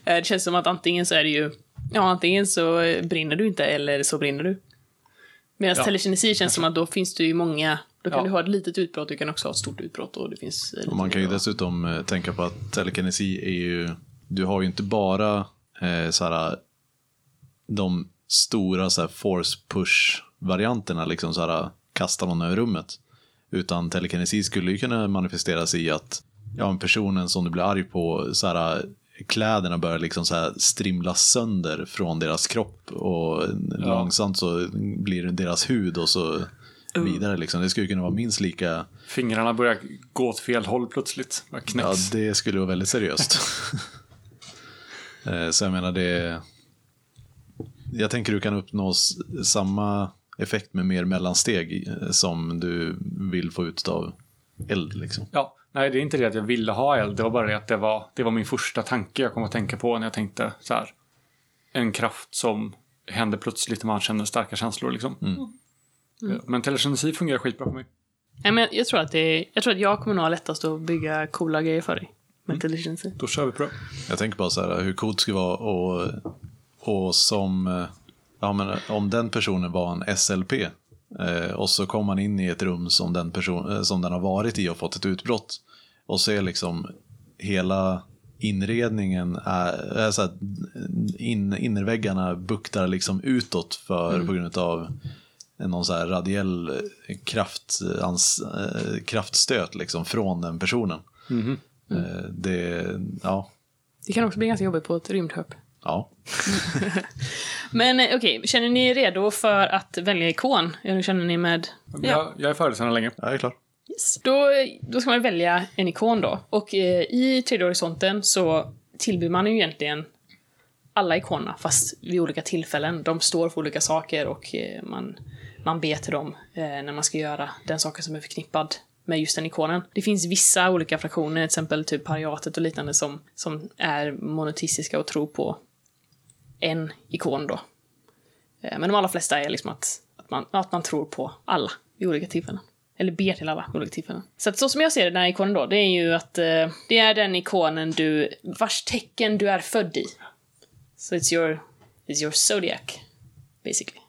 Eh, det känns som att antingen så är det ju... Ja, antingen så eh, brinner du inte, eller så brinner du. Medan
Ja.
telekinesi känns som att då finns det ju många... Då kan
Ja.
du ha ett litet utbrott, du kan också ha ett stort utbrott. Och det finns eh, lite
Och man kan ju
mer.
dessutom eh, tänka på att telekinesi är ju, du har ju inte bara eh, så här, de stora så här, force push-varianterna, liksom så här, kasta någon över rummet. Utan telekinesi skulle ju kunna manifesteras i att ja, en personen som du blir arg på, så här, kläderna börjar liksom så här strimla sönder från deras kropp och långsamt så blir det deras hud och så vidare. Liksom. Det skulle kunna vara minst lika
Fingrarna börjar gå åt fel håll plötsligt. Bara
Ja,
knäcks.
det skulle vara väldigt seriöst. Eh, Så jag menar det... Jag tänker du kan uppnå s- samma effekt med mer mellansteg eh, som du vill få ut av eld. Liksom.
Ja, nej det är inte det att jag ville ha eld. Det var bara det att det var, det var min första tanke jag kom att tänka på när jag tänkte så här. En kraft som händer plötsligt när man känner starka känslor liksom. Ja, Men telekinesi fungerar skitbra för mig.
Nej, men jag, tror att det, jag tror att jag kommer nog ha lättast att bygga coola grejer för dig. Med
Mm.
telekinesi.
Då kör vi på det.
Jag tänker bara så här hur coolt det skulle vara och, och som... eh, Ja, men om den personen var en SLP eh, och så kom man in i ett rum som den, person, eh, som den har varit i och fått ett utbrott och ser liksom hela inredningen, är, är så här, in, innerväggarna buktar liksom utåt för, på grund av någon så här radiell kraft, ans, eh, kraftstöt liksom från den personen. Eh, Det, ja,
Det kan också bli ganska jobbigt på ett rymdskepp.
ja.
Men eh, okej, känner ni er redo för att välja ikon? Eller känner ni med?
Jag, jag är färdig sedan länge.
Jag är klar.
Då, då ska man välja en ikon då. Och eh, i tredje horisonten så tillbyr man ju egentligen alla ikonerna, fast vid olika tillfällen. De står för olika saker och eh, man, man ber till dem eh, när man ska göra den saken som är förknippad med just den ikonen. Det finns vissa olika fraktioner, till exempel typ pariatet och liknande, som, som är monoteistiska och tror på en ikon då. Eh, Men de allra flesta är liksom att, att, man, att man tror på alla vid olika tillfällen. Eller ber till alla vid olika tillfällen. Så, att, så som jag ser den här ikonen då, det är ju att eh, det är den ikonen du, vars tecken du är född i. Så it's your, it's your zodiac, basically.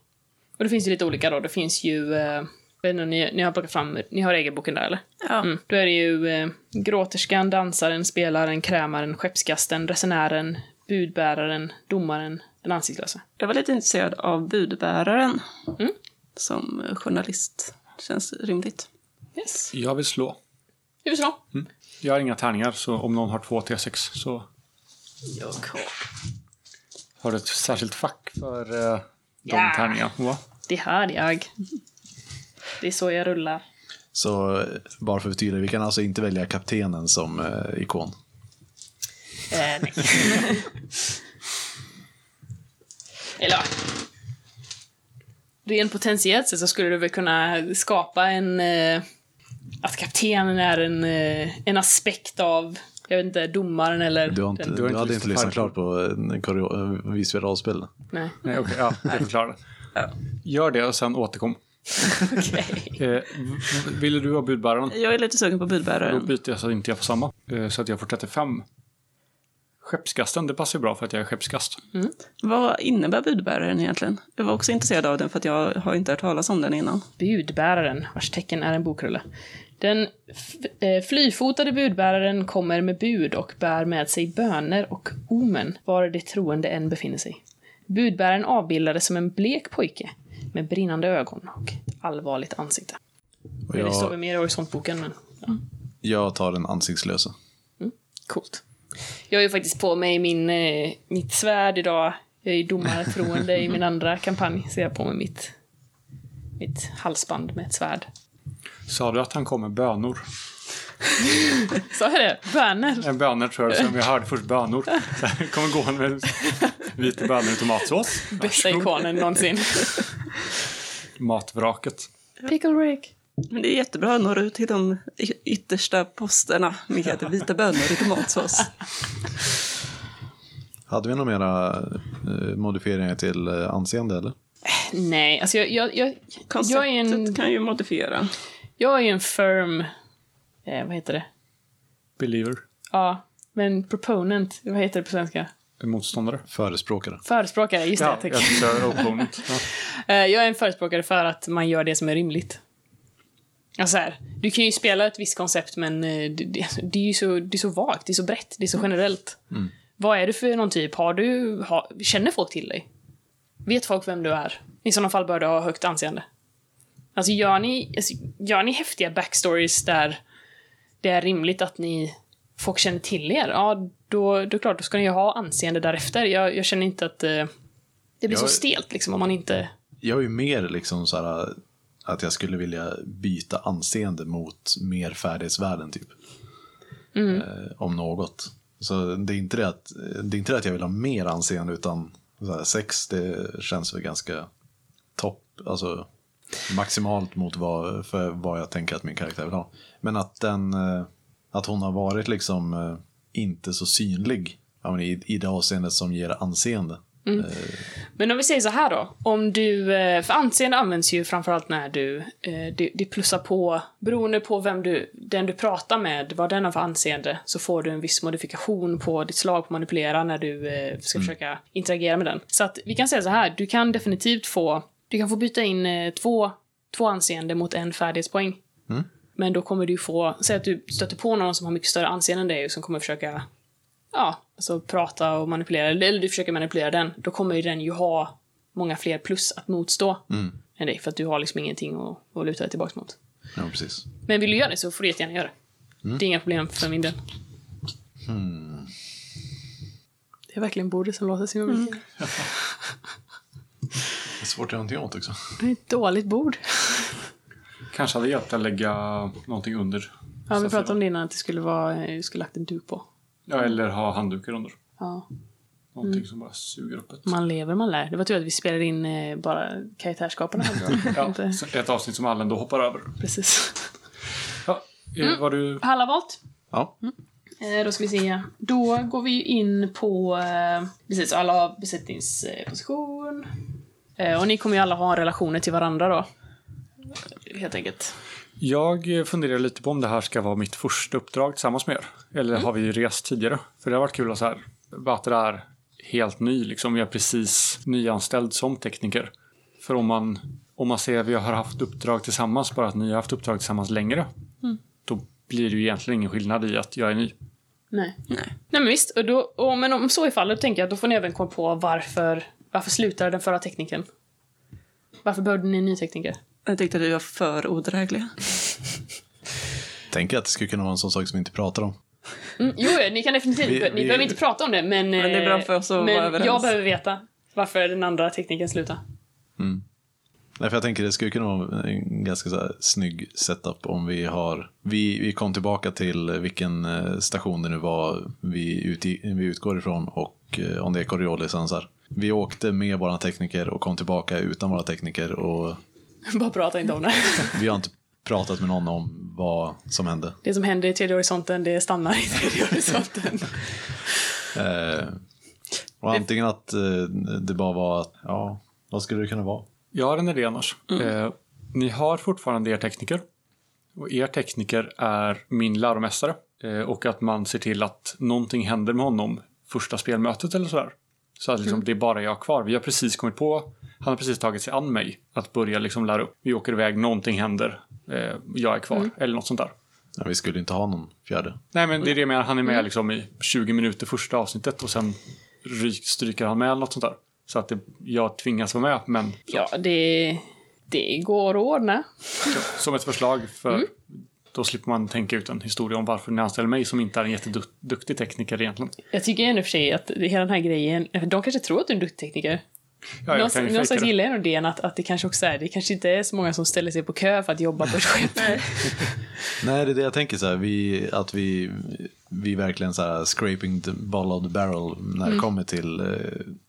Och det finns ju lite olika då, det finns ju, eh, jag vet inte, om ni, ni har plockat fram, ni har regelboken där eller?
Ja.
Mm. Då är det ju eh, gråterskan, dansaren, spelaren, krämaren, skeppskasten, resenären, budbäraren, domaren, den ansiktslösa.
Jag var lite intresserad av budbäraren.
Mm.
Som journalist. Känns rimligt.
Yes.
Jag vill slå.
Hur vill du ha?
Jag har inga tärningar så om någon har två T6 så
Jag
har du ett särskilt fack för eh, de
Ja.
tärningarna. Va?
Det här jag. Det är så jag rullar.
Så eh, bara för att förtydliga, vi kan alltså inte välja kaptenen som eh, ikon.
Eh, nej. (laughs) Eller ja. Rent potentiellt sett så skulle du väl kunna skapa en... Eh, att kaptenen är en, eh, en aspekt av, jag vet inte, domaren eller...
Du, har inte,
den-
du, hade inte lyssnat klart
färdigt.
på eh, koreo- eh, Visby rollspel.
Nej.
Nej, okej. ja, jag förklarar det. Gör det och sen återkom.
(laughs) Okej.
Eh, v- v- ville du ha budbäraren?
Jag är lite sugen på
Då
Mm.
budbäraren.
byter jag så att inte jag får samma. Eh, Så att jag får 35. Skeppskasten, det passar ju bra för att jag är skeppskast.
Vad innebär budbäraren egentligen? Jag var också intresserad av den för att jag har inte hört talas om den innan.
budbäraren, vars tecken är en bokrulle. Den f- eh, flyfotade budbäraren kommer med bud och bär med sig böner och omen, var det troende än befinner sig. Budbäraren avbildades som en blek pojke med brinnande ögon och ett allvarligt ansikte.
Och
Det står väl
jag,
mer i horisontboken, men
jag tar den ansiktslösa.
Coolt. Jag har ju faktiskt på mig min, eh, mitt svärd idag. Jag är ju domartroende i min andra kampanj, så jag har på mig mitt, mitt halsband med ett svärd.
Sa du att han kom med bönor?
Sa jag det? Böner?
En bönor tror jag, som vi hörde först bönor. Sen kommer gå med lite bönor i tomatsås.
Bästa ikonen någonsin.
Matvraket.
(laughs) Pickle Rick.
Men det är jättebra, når ut till de y- yttersta posterna med att vita bönor i tomatsås.
Hade vi några mera eh, modifieringar till eh, anseende eller?
Nej, alltså jag, jag, jag, jag, är,
Konceptet
en,
kan ju modifiera.
jag är en firm... Eh, vad heter det?
Believer.
Ja, men proponent. Vad heter det på svenska?
Motståndare.
Förespråkare.
Förespråkare, just det.
Ja,
tack.
jag kör opponent. Ja.
Eh, Jag är en förespråkare för att man gör det som är rimligt. Alltså här, du kan ju spela ett visst koncept, men eh, det, det, det är ju så, det är så vagt, det är så brett, det är så generellt. Vad är du för någon typ? Har du, har, känner folk till dig? Vet folk vem du är? I sådana fall bör du ha högt anseende. Alltså gör ni, alltså, gör ni häftiga backstories där det är rimligt att ni folk känner till er, ja, då, då, är klart, då ska ni ju ha anseende därefter. Jag, jag känner inte att eh, det blir så
Jag-
stelt liksom, om man inte
Jag är ju mer liksom så här att jag skulle vilja byta anseende mot mer färdighetsvärden typ. Eh, om något. Så det är, inte det, att, det är inte det att jag vill ha mer anseende utan så här, sex det känns väl ganska topp, alltså maximalt mot vad, för vad jag tänker att min karaktär vill ha. Men att den, eh, att hon har varit liksom eh, inte så synlig ja, men i, i det avseendet som ger anseende.
Men om vi säger så här då. Om du, eh, för anseende används ju framförallt när du, eh, det, det plussar på, beroende på vem du, den du pratar med, vad den har för anseende, så får du en viss modifikation på ditt slag på manipulera när du eh, ska försöka interagera med den. Så att vi kan säga så här, du kan definitivt få, du kan få byta in eh, två, två anseende mot en färdighetspoäng. Men då kommer du få, säg att du stöter på någon som har mycket större anseende än dig och som kommer försöka ja, alltså prata och manipulera, eller eller du försöker manipulera den, då kommer ju den ju ha många fler plus att motstå än dig, för att du har liksom ingenting att, att luta dig tillbaks mot.
Ja, precis.
Men vill du göra det så får du jättegärna göra det. Det är inga problem för min del. Det är verkligen bordet som låter så mycket.
Det är svårt att göra någonting åt också.
Det är ett dåligt (laughs) bord.
Kanske hade hjälpt att lägga någonting under.
Ja, vi pratade om det innan, att det skulle vara, eh, vi skulle lagt en duk på.
Ja, eller ha handdukar under.
Ja.
Någonting som bara suger upp ett.
Mm. Man lever, man lär. Det var tur att vi spelade in eh, bara karaktärsskaparna. (laughs)
Ja,
Inte-
ett avsnitt som alla ändå hoppar över.
Precis.
Ja,
Mm.
eh, var du...
Palla valt.
Ja.
Eh, Då ska vi se. Då går vi ju in på... eh, Precis, alla har besättningsposition. Eh, Och ni kommer ju alla ha relationer till varandra då. Helt enkelt.
Jag eh, funderar lite på om det här ska vara mitt första uppdrag tillsammans med er. Eller har vi rest tidigare? För det har varit kul att så här, bara att det är helt ny, liksom. Jag är precis nyanställd som tekniker. För om man, om man ser att vi har haft uppdrag tillsammans, bara att ni har haft uppdrag tillsammans längre, då blir det ju egentligen ingen skillnad i att jag är ny.
Nej. Nej, men visst. Och då, och, men om så är fallet, då tänker jag att då får ni även komma på varför, varför slutade den förra tekniken? Varför behövde ni en ny tekniker?
Jag tyckte att vi var för odrägliga.
Tänker att det skulle kunna vara en sån sak som vi inte pratar om.
Mm, jo, ni kan definitivt...
Vi-
ni
vi-
behöver inte prata om det, men... eh,
Men det är bra för oss att
men
vara överens.
jag behöver veta varför den andra tekniken slutade.
Nej, för jag tänker det skulle kunna vara en ganska så här snygg setup om vi har... Vi, vi kom tillbaka till vilken eh, station det nu var vi, utgi, vi utgår ifrån och eh, om det är Coriolisensar. Vi åkte med våra tekniker och kom tillbaka utan våra tekniker och
(laughs) Bara prata inte om det.
vi har inte pratat med någon om vad som hände.
Det som händer i tredje horisonten, det stannar i (laughs) tredje horisonten.
Eh, och antingen att eh, det bara var att, ja, vad skulle det kunna vara?
Jag har en idé annars. Eh, ni har fortfarande er tekniker. Och er tekniker är min läromästare. Eh, och att man ser till att någonting händer med honom första spelmötet eller sådär. Så att liksom, det är bara jag kvar. Vi har precis kommit på, han har precis tagit sig an mig att börja liksom lära upp. Vi åker iväg, någonting händer, eh, jag är kvar eller något sånt där.
Ja, vi skulle inte ha någon fjärde.
Nej men det är det jag menar, han är med liksom i 20 minuter första avsnittet och sen ry- stryker han med eller något sånt där. Så att det, jag tvingas vara med, men
Ja, det, det går att ordna.
som ett förslag för då slipper man tänka ut en historia om varför ni anställer mig som inte är en jätteduktig tekniker egentligen.
Jag tycker ändå för sig att hela den här grejen, de kanske tror att du är en duktig tekniker.
Ja, jag kan
Någonstans,
ju fejka
någonstans
det.
gillar jag nog idén att, att det kanske också är, det kanske inte är så många som ställer sig på kö för att jobba på ett skepp.
Nej, det är det jag tänker så här. Vi, att vi, vi verkligen så här scraping the ball of the barrel när
Mm.
det kommer till eh,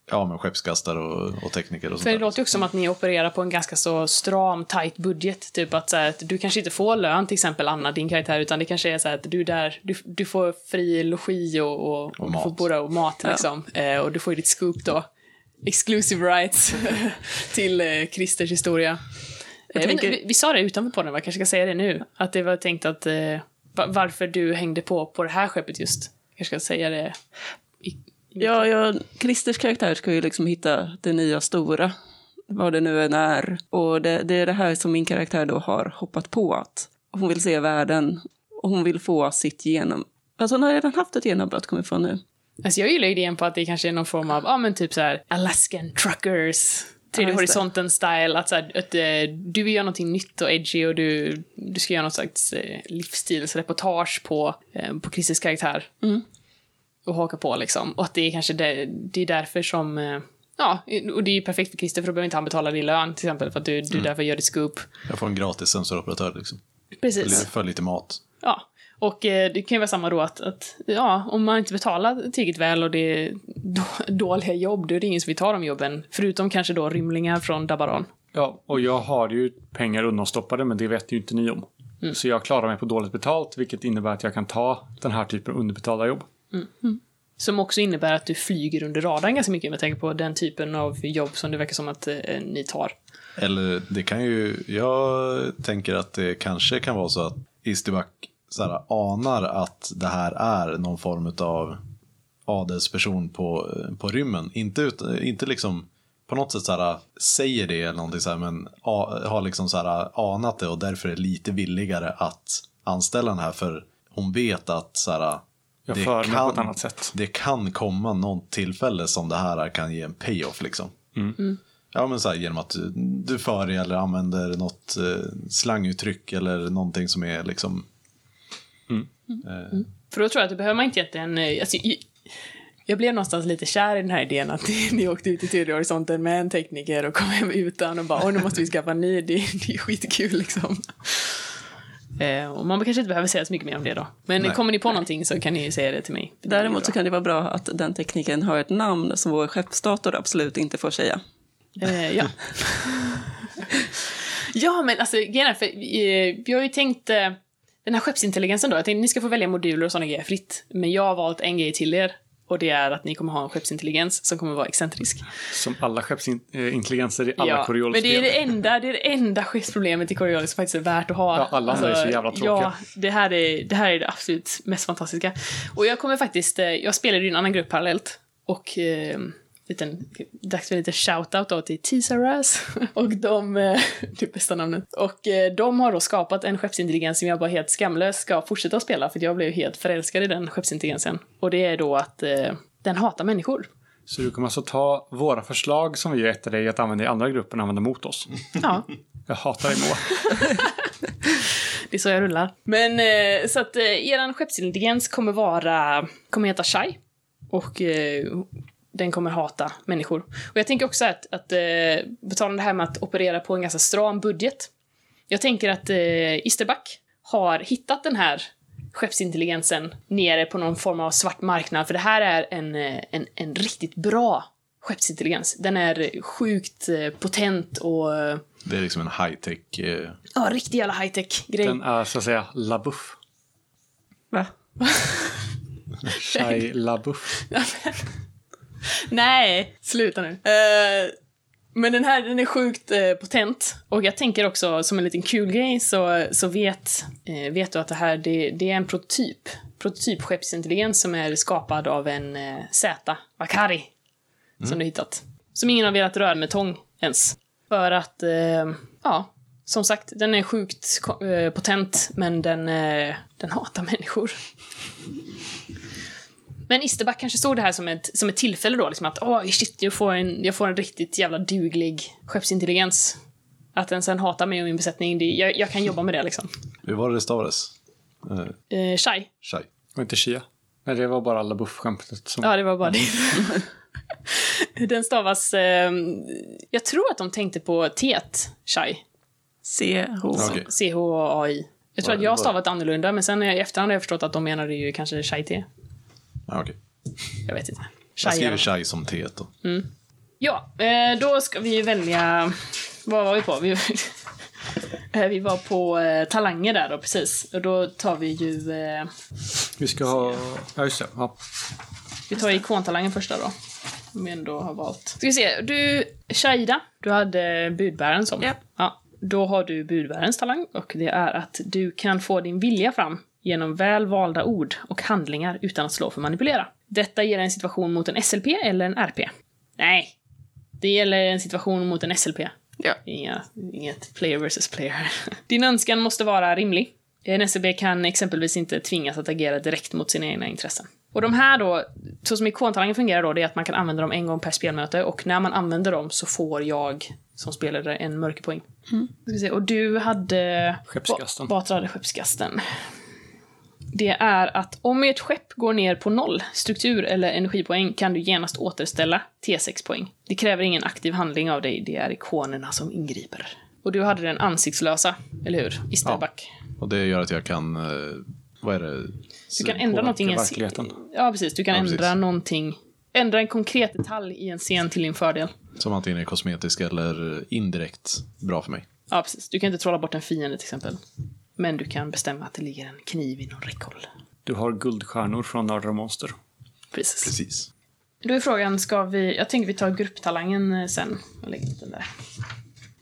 ja, men skeppskastare och, och tekniker och
För det
sånt där.
låter ju också som att ni opererar på en ganska så stram, tight budget. Typ att, så här, att du kanske inte får lön, till exempel Anna, din karaktär, utan det kanske är så här att du är där, du, du får fri logi och, och, och du
mat.
får både och mat liksom. Eh, och du får ju ditt scoop då. Exclusive rights (laughs) till eh, Christers historia. Eh, men
tänker-
vi, vi sa det utanför podden, va? kanske ska säga det nu. Att det var tänkt att eh, va- varför du hängde på på det här skeppet just. kanske ska säga det. i-
Ja, ja, Christers karaktär ska ju liksom hitta det nya stora, vad det nu än är. Och det, det är det här som min karaktär då har hoppat på att hon vill se världen och hon vill få sitt genom... Alltså hon har redan haft ett genombrott kommer vi få nu.
Alltså jag gillar idén på att det kanske är någon form av, ja men typ så här Alaskan truckers. Tredje
Ja, just det.
horisonten style, att, så här, att eh, du vill göra någonting nytt och edgy och du, du ska göra något slags eh, livsstilsreportage på, eh, på Christers karaktär.
Mm.
Och haka på liksom. Och att det är kanske det, det är därför som, eh, ja, och det är ju perfekt för Christer för då behöver inte han betala din lön till exempel för att du, du
Mm.
därför gör ditt scoop.
Jag får en gratis sensoroperatör liksom.
Precis.
Eller för lite mat.
Ja. Och eh, det kan ju vara samma då att, att ja, om man inte betalar tillräckligt väl och det är då, (laughs) dåliga jobb, då är det ingen som vill ta de jobben. Förutom kanske då rymlingar från Dabaron.
Ja, och jag har ju pengar undanstoppade, men det vet ju inte ni om. Så jag klarar mig på dåligt betalt, vilket innebär att jag kan ta den här typen av underbetalda jobb.
Som också innebär att du flyger under radarn ganska mycket med tanke på den typen av jobb som det verkar som att eh, ni tar.
Eller det kan ju, jag tänker att det kanske kan vara så att Isterback så här, anar att det här är någon form av adelsperson på, på rymmen. Inte, ut, inte liksom på något sätt så här, säger det eller någonting så här, men a, har liksom så här, anat det och därför är lite villigare att anställa den här för hon vet att så här,
Jag för mig på ett annat sätt.
det kan komma något tillfälle som det här kan ge en payoff liksom.
Mm.
Ja, men så här, genom att du, du för dig eller använder något eh, slanguttryck eller någonting som är liksom...
För då tror jag att då behöver man inte egentligen... eh, Alltså, i- jag blev någonstans lite kär i den här idén att (laughs) ni åkte ut i tredje horisonten med en tekniker och kom hem utan och bara åh nu måste vi skaffa en ny, det, det är skitkul liksom. Eh, och man kanske inte behöver säga så mycket mer om det då. Men
Nej.
kommer ni på någonting så kan ni ju säga det till mig.
Däremot så kan det vara bra att den tekniken har ett namn som vår skeppsdator absolut inte får säga.
Eh, ja. ja, men alltså grejen är, för, eh, jag har ju tänkt eh, den här skeppsintelligensen då, jag tänkte ni ska få välja moduler och sådana grejer fritt. Men jag har valt en grej till er och det är att ni kommer ha en skeppsintelligens som kommer vara excentrisk.
Som alla skeppsintelligenser i alla
ja, men
Coriolis
det är det enda, det är det enda skeppsproblemet i Coriolis som faktiskt är värt att ha. Alltså,
Ja, alla andra är så jävla tråkiga.
Ja, det här, är, det här är det absolut mest fantastiska. Och jag kommer faktiskt, eh, jag spelade ju en annan grupp parallellt och eh, liten, dags för lite shout-out då till Tisaras (laughs) och de, eh, (laughs) det bästa namnet. Och eh, de har då skapat en skeppsintelligens som jag bara helt skamlöst ska fortsätta att spela för att jag blev helt förälskad i den skeppsintelligensen. Och det är då att eh, den hatar människor.
Så du kommer alltså ta våra förslag som vi gett dig att använda i andra gruppen och använda mot oss.
Ja.
Jag hatar dig Moa. (laughs)
Det är så jag rullar. Men eh, så att eh, eran skeppsintelligens kommer vara, kommer heta Shai. Och eh, den kommer hata människor. Och jag tänker också att, att eh, betala det här med att operera på en ganska stram budget. Jag tänker att eh, Isterback har hittat den här skeppsintelligensen nere på någon form av svart marknad. För det här är en, eh, en, en riktigt bra skeppsintelligens. Den är sjukt eh, potent och eh,
Det är liksom en high-tech... Eh,
ja, riktig jävla high-tech grej.
Den är så att säga LaBouffe.
Va?
(laughs) Shai LaBouffe.
(laughs) Nej, sluta nu. Eh, men den här den är sjukt eh, potent. Och jag tänker också, som en liten kul grej, så, så vet, eh, vet du att det här det, det är en prototyp prototypskeppsintelligens som är skapad av en eh, Z, Vakari, som du hittat. Som ingen har velat röra med tång ens. För att, eh, ja, som sagt, den är sjukt ko- eh, potent, men den, eh, den hatar människor. Men Isterback kanske såg det här som ett, som ett tillfälle då, liksom att åh shit, jag får, en, jag får en riktigt jävla duglig skeppsintelligens. Att den sen hatar mig och min besättning, det, jag, jag kan jobba med det liksom. (laughs)
Hur var det det stavades? Eh,
Eh, shy.
Shai.
Och inte Chia. Nej, det var bara LaBouffe-skämtet som...
Ja, det (laughs) var bara det. den stavas... Eh, jag tror att de tänkte på teet, shy.
CH.
Okej.
C-H-A-I. Jag tror
Var-
att jag har
var-
stavat annorlunda, men sen i efterhand har jag förstått att de menade ju kanske chai-te.
Ja, okej.
Jag vet inte.
Jag
Chai i alla
skriver
fall.
Shai som T då.
Ja, eh, då ska vi välja... Vad var vi på? Vi, (laughs) eh, vi var på eh, talanger där då, precis. Och då tar vi ju... Eh,
Vi ska ha... Ja, just det. Ja.
vi tar ikontalanger första då. Om vi ändå har valt. Ska vi se, du, Shaida, du hade budbäraren som.
Ja.
ja. Då har du budbärarens talang och det är att du kan få din vilja fram genom väl valda ord och handlingar utan att slå för manipulera. Detta ger en situation mot en SLP eller en RP. Nej, det gäller en situation mot en SLP.
Ja.
Inga, inget player versus player. Din önskan måste vara rimlig. En SCB kan exempelvis inte tvingas att agera direkt mot sina egna intressen. Och de här då, så som ikontalangen fungerar då, det är att man kan använda dem en gång per spelmöte och när man använder dem så får jag som spelare en mörkerpoäng. Ska vi se, och du hade...
Skeppskasten.
Ba- Batra hade skeppskasten. Det är att om ert skepp går ner på noll struktur eller energipoäng kan du genast återställa T6 poäng. Det kräver ingen aktiv handling av dig, det är ikonerna som ingriper. Och du hade den ansiktslösa, eller hur? I Starbuck.
Och det gör att jag kan, eh, vad är det?
Mm. du kan ändra
påverkar
någonting i en
verkligheten.
Ja, precis. Du kan
Ja,
ändra
precis.
någonting. Ändra en konkret detalj i en scen till din fördel.
Som antingen är kosmetisk eller indirekt bra för mig.
Ja, precis. Du kan inte trolla bort en fiende till exempel. Men du kan bestämma att det ligger en kniv inom räckhåll.
Du har guldstjärnor från Nördar och Monster.
Precis.
Precis.
Då är frågan, ska vi... Jag tänker vi tar grupptalangen eh, sen. Jag lägger ut den där.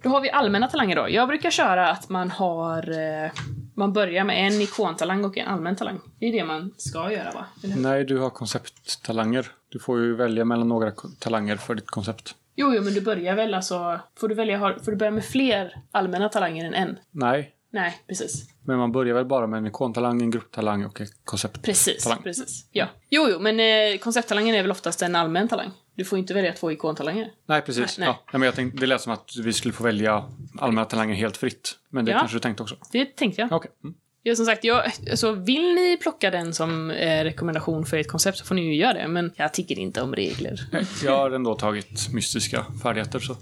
Då har vi allmänna talanger då. Jag brukar köra att man har... eh, Man börjar med en ikontalang och en allmän talang. Det är det man ska göra va? Eller? hur?
Nej, du har koncepttalanger. Du får ju välja mellan några ko- talanger för ditt koncept.
Jo, jo, men du börjar väl alltså... Får du, välja, har- får du börja med fler allmänna talanger än en?
Nej,
Nej, precis.
men man börjar väl bara med en ikontalang, en grupptalang och en koncept.
Precis,
Talang.
precis. Ja. Jo, jo, men eh, koncepttalangen är väl oftast en allmän talang? Du får inte välja två ikontalanger.
Nej, precis.
Nej, nej.
Ja, nej, men jag tänkte, det lät som att vi skulle få välja allmänna talanger helt fritt. Men det
Ja.
kanske du tänkte också?
Det tänkte jag.
Ja, Okej. Mm.
Ja, som sagt, jag, alltså, vill ni plocka den som eh, rekommendation för ett koncept så får ni ju göra det, men jag tycker inte om
(laughs)
regler.
Jag har ändå tagit mystiska färdigheter. Så.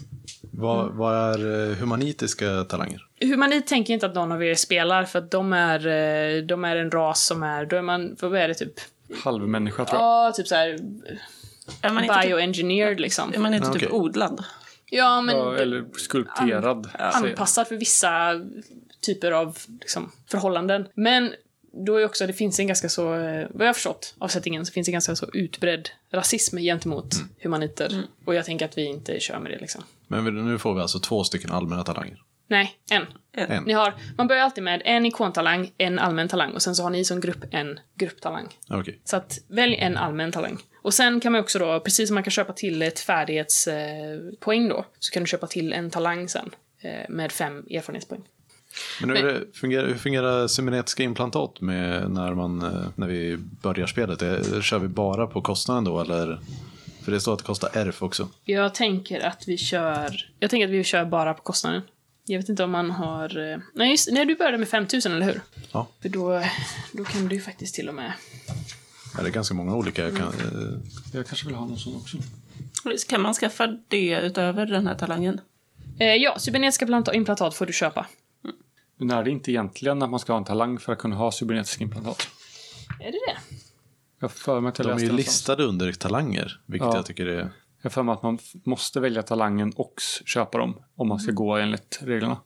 Vad,
Mm.
vad är eh, humanitiska talanger?
Humanit tänker inte att någon av er spelar, för att de är, eh, de är en ras som är, då är man, vad är det typ?
Halvmänniska tror jag.
Ja, typ såhär
Är man inte typ,
bioengineered liksom.
är man inte
Okej.
typ odlad?
Ja, men
Ja, eller skulpterad. säger jag.
anpassad för vissa typer av liksom, förhållanden. Men då är också, det finns en ganska så, eh, vad jag har förstått av settingen, så finns det ganska så utbredd rasism gentemot
Mm.
humaniter. Och jag tänker att vi inte kör med det liksom.
Men vi- nu får vi alltså två stycken allmänna talanger.
Nej, en.
En.
Ni har, man börjar alltid med en ikontalang, en allmän talang och sen så har ni som grupp en grupptalang.
Okej.
Så att välj en allmän talang. Och sen kan man också då, precis som man kan köpa till ett färdighetspoäng eh, poäng då, så kan du köpa till en talang sen eh, med fem erfarenhetspoäng.
Men hur, är det, fungerar, hur fungerar seminetiska implantat med när, man, eh, när vi börjar spelet? Det, kör vi bara på kostnaden då eller? För det står att det kostar RF också.
Jag tänker att vi kör... Jag tänker att vi kör bara på kostnaden. Jag vet inte om man har... eh, Nej, just Nej, du började med 5000, eller hur?
Ja,
För då, då kan du ju faktiskt till och med...
Ja, det är ganska många olika. Kan, eh,
Jag kanske vill ha någon sån också.
Kan man skaffa det utöver den här talangen?
Eh, ja, cybernetiska planta- implantat får du köpa.
Men är det inte egentligen att man ska ha en talang för att kunna ha cybernetisk implantat?
Är det det?
Jag har för mig att jag
de är
läste
ju
någonstans.
listade under talanger, vilket
Ja.
jag tycker är...
Jag har för mig att man f- måste välja talangen och s- köpa dem om man ska gå enligt reglerna.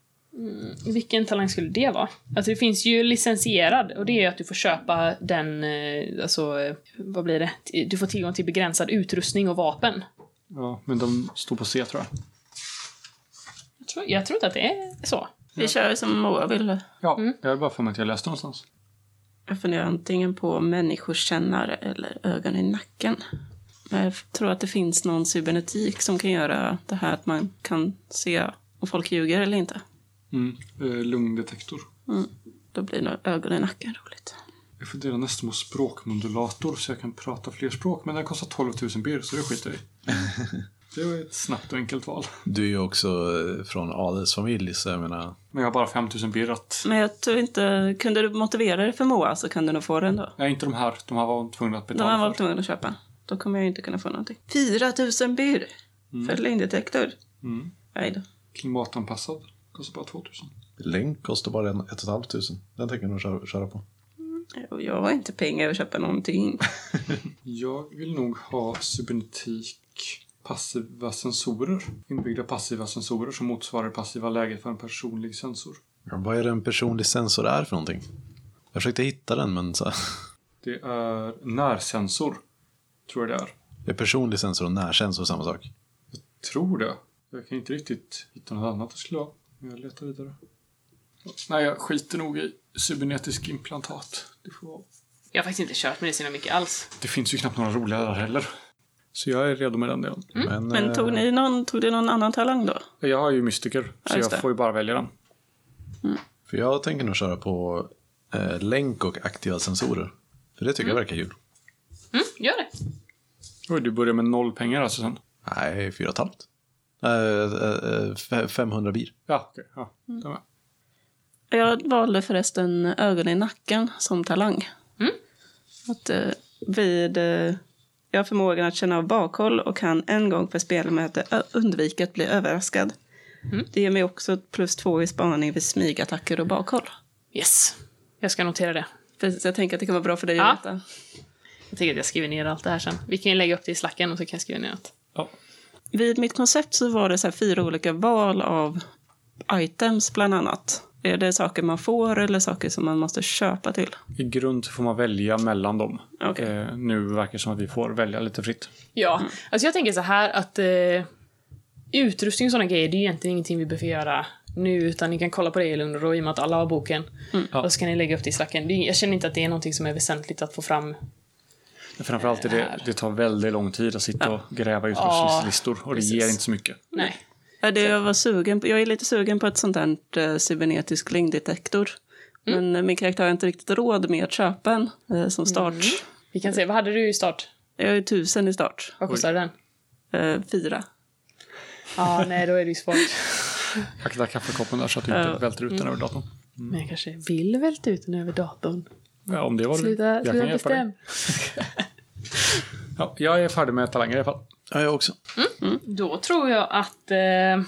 Vilken talang skulle det vara? Alltså det finns ju licensierad och det är ju att du får köpa den, eh, alltså, eh, vad blir det? T- Du får tillgång till begränsad utrustning och vapen.
Ja, men de står på C tror jag.
Jag tror, jag tror inte att det är så.
Vi kör som Moa vill.
Mm. Ja, jag har bara för mig att jag läste någonstans.
Jag funderar antingen på människokännare eller ögon i nacken. Men jag tror att det finns någon cybernetik som kan göra det här att man kan se om folk ljuger eller inte. Mm.
Mm. Eh, lungdetektor.
Då blir nog ögon i nacken roligt.
Jag funderar nästan på språkmodulator så jag kan prata fler språk. Men den kostar 12 000 birr så det skiter jag i. (laughs) Det var ett snabbt och enkelt val.
Du är ju också eh, från adelsfamilj, så jag menar...
Men jag har bara 5 000 birr att...
Men jag tror inte... Kunde du motivera dig för Moa så kan du nog få den då.
Nej, inte de här. De här var tvungna att
De har
betala
varit
för.
tvungen att köpa. Då kommer jag inte kunna få någonting. 4000 birr för lögndetektor.
Mm.
Nej då.
Klimatanpassad. Kostar bara 2 000.
Länk kostar bara en, ett och ett halvt tusen. Den tänker jag nog köra, köra på.
Och Jag har inte pengar att
(laughs)
köpa någonting.
Jag vill nog ha cybernetik passiva sensorer. Inbyggda passiva sensorer som motsvarar det passiva läget för en personlig sensor.
Ja, vad är det en personlig sensor är för någonting? Jag försökte hitta den, men så (laughs) här,
Det är närsensor. Tror jag det är.
är personlig sensor och närsensor samma sak?
Tror det. Jag kan inte riktigt hitta något annat det skulle vara. Men jag letar vidare. Nej, jag skiter nog i cybernetisk implantat. Det, får vara.
Jag har faktiskt inte kört med det så mycket alls.
det finns ju knappt några roliga där heller. Så jag är redo med den delen.
Mm.
eh,
Men tog, ni någon, tog det någon annan talang då?
Jag har ju mystiker,
Ja,
så
just det.
jag får ju bara välja den.
För jag tänker nog köra på eh, länk och aktiva sensorer. För det tycker jag verkar kul.
Mm, gör det.
Oj, du börjar med noll pengar alltså sen?
Nej, fyra och ett halvt. Eh, eh, eh, fe- 500 bil.
Ja, okej. Ja,
Mm.
det var.
Jag valde förresten ögon i nacken som talang.
Mm.
Att, eh, vid, eh, jag har förmågan att känna av bakhåll och kan en gång per spelmöte ö- undvika att bli överraskad.
Mm.
Det ger mig också ett plus två i spaning vid smygattacker och bakhåll.
Yes. Jag ska notera det.
Precis, jag tänker att det kan vara bra för dig
Ja.
att veta.
Jag tänker att jag skriver ner allt det här sen. Vi kan ju lägga upp det i slacken och så kan jag skriva ner allt.
Ja.
Vid mitt koncept så var det så här fyra olika val av items bland annat. Är det saker man får eller saker som man måste köpa till?
I grund så får man välja mellan dem.
Okej.
Eh, nu verkar det som att vi får välja lite fritt.
Ja, alltså jag tänker så här att eh, utrustning och sådana grejer, det är ju egentligen ingenting vi behöver göra nu, utan ni kan kolla på det i Lund och då, i och med att alla har boken.
Ja.
Och så kan ni lägga upp det i slacken. Det är- Jag känner inte att det är någonting som är väsentligt att få fram.
Framförallt är det, det tar väldigt lång tid att sitta och gräva ut
Ja,
listor och det
precis.
ger inte så mycket.
Nej.
Ja, det jag, var sugen på, jag är lite sugen på ett sånt här eh, cybernetisk lögndetektor. Men eh, min karaktär har inte riktigt råd med att köpa en eh, som start.
Vi kan se, vad hade du i start?
Jag är tusen i start.
Vad kostade den?
Eh, fyra.
Ja, nej, då är det ju svårt.
Mm. Akta kaffekoppen där så att du inte
Ja.
välter ut den över datorn.
Men jag kanske vill välta ut den över datorn.
Ja, om det var
Sluta,
jag
sluta
kan hjälpa
bestäm.
dig. Ja, jag är färdig med talanger i alla fall.
Ja, jag också.
Då tror jag att... Eh,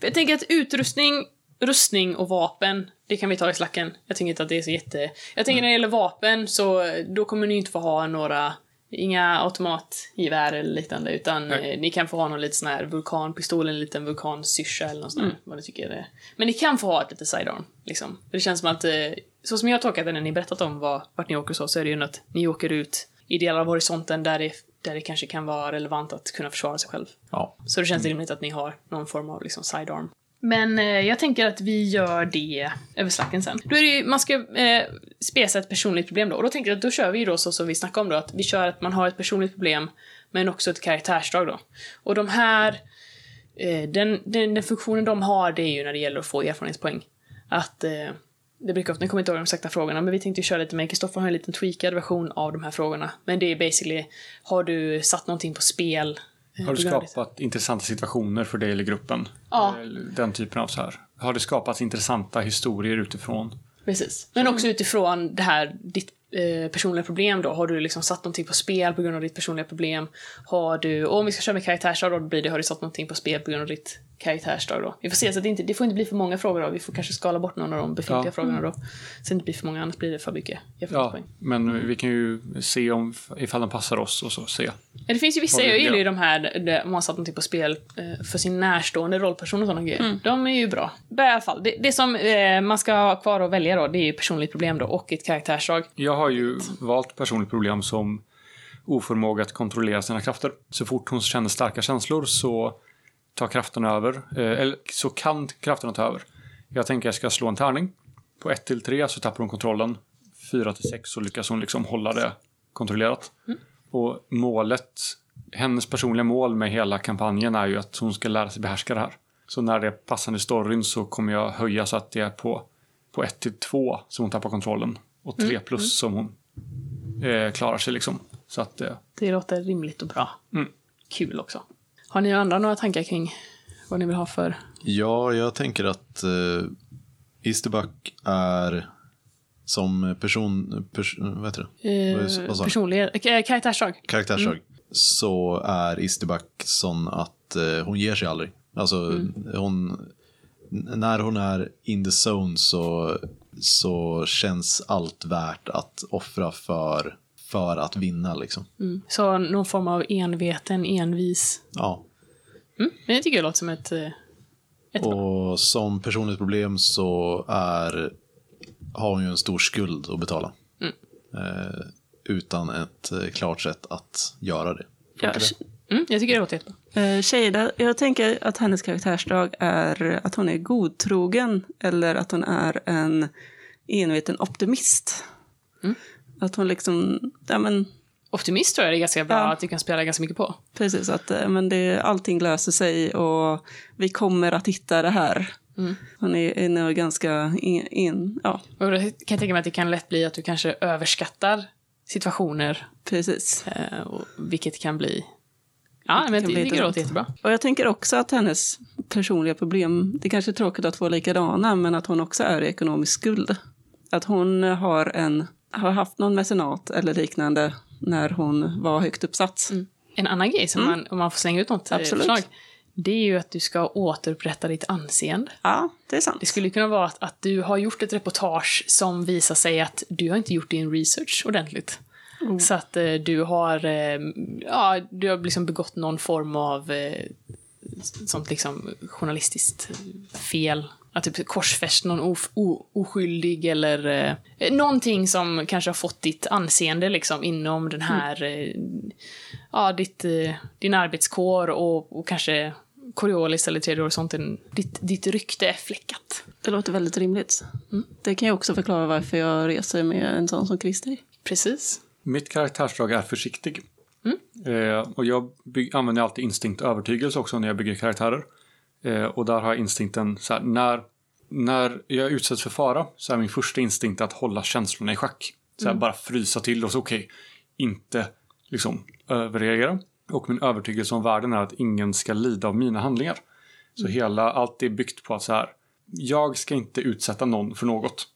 jag tänker att utrustning, rustning och vapen, det kan vi ta i slacken. Jag tänker inte att det är så jätte... Jag tänker när det gäller vapen så eh, då kommer ni inte få ha några... Inga automatgevär eller liknande utan
Nej.
eh, ni kan få ha någon liten sån här vulkanpistol, en liten vulkansyrsa eller något sånt där, vad ni tycker det är. Men ni kan få ha ett litet sidearm liksom. För det känns som att, eh, så som jag har tolkat det när ni berättat om vad, vart ni åker och så, så är det ju att ni åker ut i delar av horisonten där det, där det kanske kan vara relevant att kunna försvara sig själv.
Ja.
Så det känns rimligt att ni har någon form av liksom sidearm. Mm. Men eh, jag tänker att vi gör det över slacken sen. Då är det ju, man ska eh, spesa ett personligt problem då. Och då tänker jag att då kör vi ju då så som vi snackade om då, att vi kör att man har ett personligt problem, men också ett karaktärsdrag då. Och de här, eh, den, den, den funktionen de har det är ju när det gäller att få erfarenhetspoäng. Att, eh, det brukar ofta, jag kommer inte ihåg de exakta frågorna, men vi tänkte ju köra lite med, Kristoffer har en liten tweakad version av de här frågorna. Men det är basically, har du satt någonting på spel? eh,
Har
på
du
grund av det?
skapat intressanta situationer för dig eller gruppen?
Ja.
Eller Den typen av så här. Har det skapats intressanta historier utifrån?
Precis. Men också utifrån det här ditt eh, personliga problem då. Har du liksom satt någonting på spel på grund av ditt personliga problem? Har du, och om vi ska köra med karaktärsdrag då, då blir det, har du satt någonting på spel på grund av ditt karaktärsdrag då? Vi får se, så att det, inte, det får inte bli för många frågor då. Vi får kanske skala bort någon av de befintliga
Ja.
frågorna då. Så att det inte blir för många, annars blir det för mycket
Ja,
erfarenhetspoäng.
men vi kan ju se om, ifall den passar oss och så se.
Ja, det finns ju vissa,
Har vi-
jag gillar ju
ja.
de här, där man har satt någonting på spel eh, för sin närstående rollperson och sådana grejer. De är ju bra. Men I alla fall, det, det som eh, man ska ha kvar att välja då, det är ju personligt problem då och ett karaktärsdrag.
Jag har ju valt personligt problem som oförmåga att kontrollera sina krafter. Så fort hon känner starka känslor så tar krafterna över, eh, eller så kan krafterna ta över. Jag tänker jag ska slå en tärning. På 1 till 3 så tappar hon kontrollen. fyra till sex så lyckas hon liksom hålla det kontrollerat. Och målet, hennes personliga mål med hela kampanjen är ju att hon ska lära sig behärska det här. Så när det passar i storyn så kommer jag höja så att det är på, på 1 till 2 som hon tappar kontrollen och 3 plus som hon eh, klarar sig liksom. Så att eh,
Det låter rimligt och bra.
Mm.
Kul också. Har ni andra några tankar kring vad ni vill ha för... eh,
Ja, jag tänker att uh, Isterback är som person... Pers, vad heter det?
Eh,
Vad är- vad sa du?
personlighet, eh, karaktärsdrag.
karaktärsdrag så är Isterback sån att eh, hon ger sig aldrig. Alltså, hon, n- när hon är in the zone så, så känns allt värt att offra för, för att vinna. Liksom.
Mm. Så någon form av enveten, envis.
Ja.
Mm. Men det tycker jag låter som ett... eh,
Och som personligt problem så är, har hon ju en stor skuld att betala. Eh, utan ett eh, klart sätt att göra det.
Ja,
Mm, jag tycker det låter jättebra.
eh, Shada, jag tänker att hennes karaktärsdrag är att hon är godtrogen eller att hon är en enveten optimist. Att hon liksom, ja men
Optimist tror jag det är ganska bra
Ja.
att du kan spela ganska mycket på.
precis att eh, men det, allting löser sig och vi kommer att hitta det här. Hon är, är nog ganska in, in, ja
Och då kan jag tänka mig att det kan lätt bli att du kanske överskattar situationer,
precis.
eh, och, vilket kan bli... Ja, men
kan
det
bli
tycker jag låter
dumt.
jättebra.
Och jag tänker också att hennes personliga problem, det kanske är tråkigt att vara likadana, men att hon också är i ekonomisk skuld. Att hon har, en, har haft någon mecenat eller liknande när hon var högt uppsatt.
En annan grej, som man, om man får slänga ut något eh,
Absolut.
förslag, det är ju att du ska återupprätta ditt anseende.
Ja, det är sant.
Det skulle kunna vara att, att du har gjort ett reportage som visar sig att du har inte gjort din research ordentligt. Så att eh, du har, eh, ja, du har liksom begått någon form av eh, sånt liksom journalistiskt fel. Att typ korsfäst någon of, o, oskyldig eller eh, någonting som kanske har fått ditt anseende liksom inom den här, eh, ja, ditt, eh, din arbetskår och, och kanske Coriolis eller tredje horisonten, ditt, ditt rykte är fläckat.
Det låter väldigt rimligt. Mm. Det kan ju också förklara varför jag reser med en sån som Christer.
Precis.
Mitt karaktärsdrag är försiktig. Eh, och jag byg- använder alltid instinkt och övertygelse också när jag bygger karaktärer. Eh, och där har jag instinkten så här, när, när jag utsätts för fara så är min första instinkt att hålla känslorna i schack. Så här, Bara frysa till och så okej, inte liksom överreagera. Och min övertygelse om världen är att ingen ska lida av mina handlingar. Så hela, allt är byggt på att så här, jag ska inte utsätta någon för något.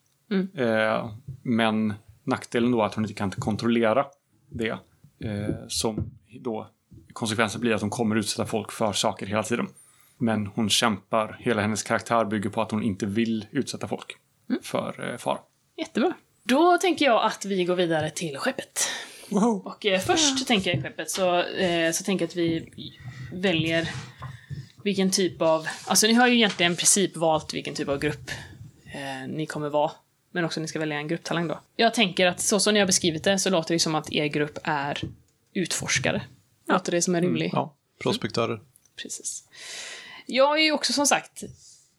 Eh, men nackdelen då är att hon inte kan kontrollera det. Eh, som då konsekvensen blir att hon kommer utsätta folk för saker hela tiden. Men hon kämpar, hela hennes karaktär bygger på att hon inte vill utsätta folk för eh, fara.
Jättebra. Då tänker jag att vi går vidare till skeppet. Och eh, först tänker jag skeppet så, eh, så tänker jag att vi väljer vilken typ av... Alltså ni har ju egentligen i princip valt vilken typ av grupp eh, ni kommer vara. Men också ni ska välja en grupptalang då. Jag tänker att så som ni har beskrivit det så låter det ju som att er grupp är utforskare. Låter det som en rimlig...
Ja, prospektörer.
Precis. Jag är ju också som sagt,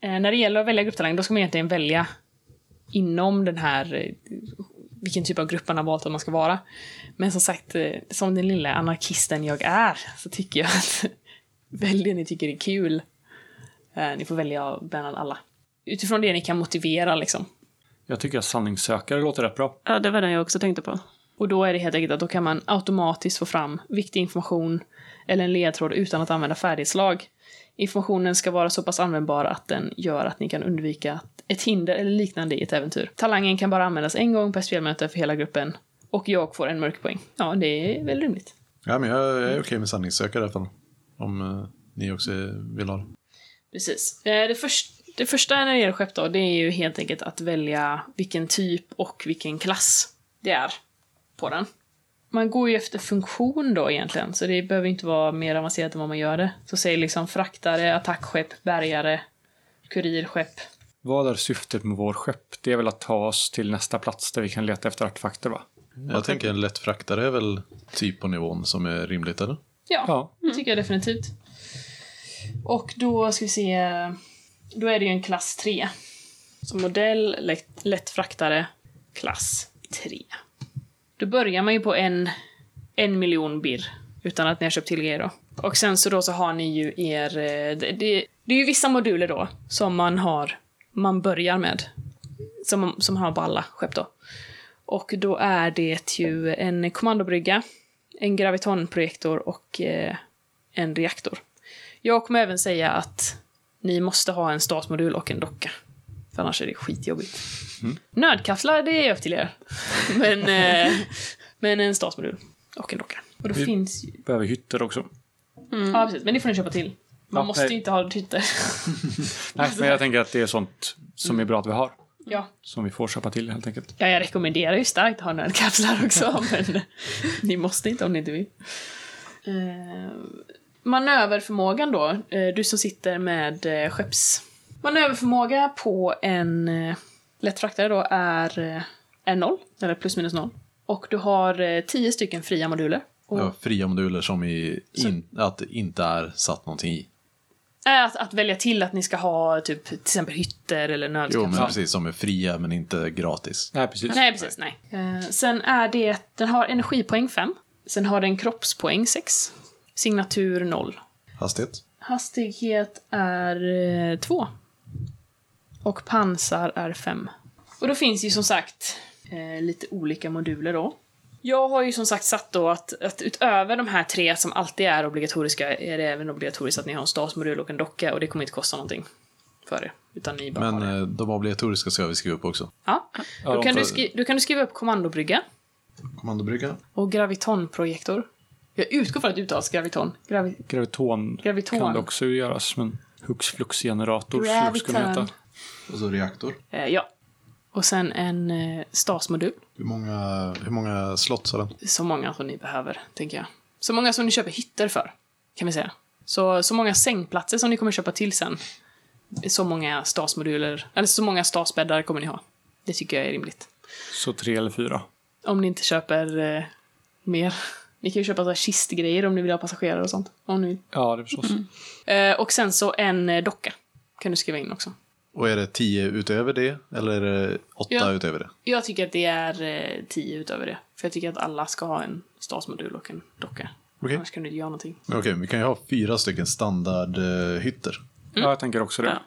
eh, när det gäller att välja grupptalang, då ska man egentligen välja inom den här, eh, vilken typ av grupp man har valt att man ska vara. Men som sagt, eh, som den lilla anarkisten jag är, så tycker jag att (laughs) välj det ni tycker är kul. Eh, Ni får välja bland alla. Utifrån det ni kan motivera liksom.
Jag tycker att sanningssökare låter rätt bra.
Ja, det var den jag också tänkte på.
Och då är det helt enkelt att då kan man automatiskt få fram viktig information eller en ledtråd utan att använda färdighetslag. Informationen ska vara så pass användbar att den gör att ni kan undvika att- ett hinder eller liknande i ett äventyr. Talangen kan bara användas en gång per spelmöte för hela gruppen och jag får en mörkpoäng. Ja, det är väl rimligt.
Ja, men jag jag är okej med sanningssökare i alla fall. Om eh, ni också vill ha det.
Precis. Eh, Det, först, det första när det gäller skepp då, det är ju helt enkelt att välja vilken typ och vilken klass det är på den. Man går ju efter funktion då egentligen, så det behöver inte vara mer avancerat än vad man gör det. Så säg liksom fraktare, attackskepp, bärgare, kurirskepp.
Vad är syftet med vår skepp? Det är väl att ta oss till nästa plats där vi kan leta efter artefakter, va?
Jag tänker en lätt fraktare är väl typ på nivån som är rimligt, eller?
Ja,
Ja.
det tycker jag definitivt. Och då ska vi se, då är det ju en klass 3. Så modell, lätt, lätt fraktare, klass. tre. Då börjar man ju på en, en miljon birr. Utan att ni har köpt till er då. Och sen så då så har ni ju er... eh, Det, det, det är ju vissa moduler då som man har... Man börjar med. Som, som man har på alla skepp då. Och då är det ju en kommandobrygga, en gravitonprojektor och eh, en reaktor. Jag kommer även säga att ni måste ha en statsmodul och en docka. För annars är det skitjobbigt.
Mm.
Nödkapslar, det är upp till er. Men, eh, men en statsmodul och en docka. Mm. Och då
Vi-
finns ju...
Behöver hytter också.
Ja, precis. Men det får ni köpa till. Man
Ja,
måste
nej.
ju inte ha typ hytter.
Nej, men jag tänker att det är sånt som är bra att vi har.
ja.
Som vi får köpa till helt enkelt.
ja, jag rekommenderar ju starkt att ha nödkapslar
(laughs)
också. men ni måste inte om ni inte vill. Eh, manöverförmågan då. Eh, du som sitter med eh, skepps... Manöverförmåga på en eh, lättfraktare då är, eh, är noll. Eller plus minus noll. Och du har eh, tio stycken fria moduler. Och
Ja, fria moduler som i, in, att det inte är satt någonting i.
Äh, Att, att välja till att ni ska ha typ, till exempel hytter eller
Jo, men
nödskaffer.
precis, som är fria men inte gratis.
Nej, precis.
Nej, precis. Nej. Eh, sen är det... Den har energipoäng 5. Sen har den kroppspoäng 6. Signatur 0.
Hastighet?
Hastighet är 2. Och pansar är 5. Och då finns ju som sagt eh, lite olika moduler då. Jag har ju som sagt satt då att, att utöver de här tre som alltid är obligatoriska är det även obligatoriskt att ni har en stasmodul och en docka och det kommer inte kosta någonting för er. Utan ni bara har
Men
det.
eh, de obligatoriska ska vi skriva upp också.
Ja.
Ja,
Då
de
kan du,
tar-
skri- då kan du skriva upp kommandobrygga.
Kommandobrygga.
Och gravitonprojektor. Jag utgår från att det uttalas graviton. Gravi
Graviton,
Graviton.
kan det också göras, men hux flux-generator skulle också kunna
Graviton.
heta.
Och så reaktor.
eh, ja. Och sen en eh, stasmodul.
Hur många...
Hur många slots har den?
Så många som ni behöver, tänker jag. Så många som ni köper hytter för, kan vi säga. Så, så många sängplatser som ni kommer köpa till sen. Så många stasmoduler, eller så många stasbäddar kommer ni ha. Det tycker jag är rimligt.
Så tre eller fyra.
Om ni inte köper eh, mer. (laughs) Ni kan ju köpa så här kistgrejer om ni vill ha passagerare och sånt. Om ni vill.
Ja, det är förstås.
Eh, och sen så en eh, docka. Kan du skriva in också.
Och är det tio utöver det? Eller är det åtta
Ja.
utöver det?
Jag tycker att det är eh, tio utöver det. För jag tycker att alla ska ha en stadsmodul och en docka.
Okej.
Annars kan du inte göra någonting.
Men Okej, vi kan ju ha fyra stycken standardhytter.
Ja, jag tänker också det.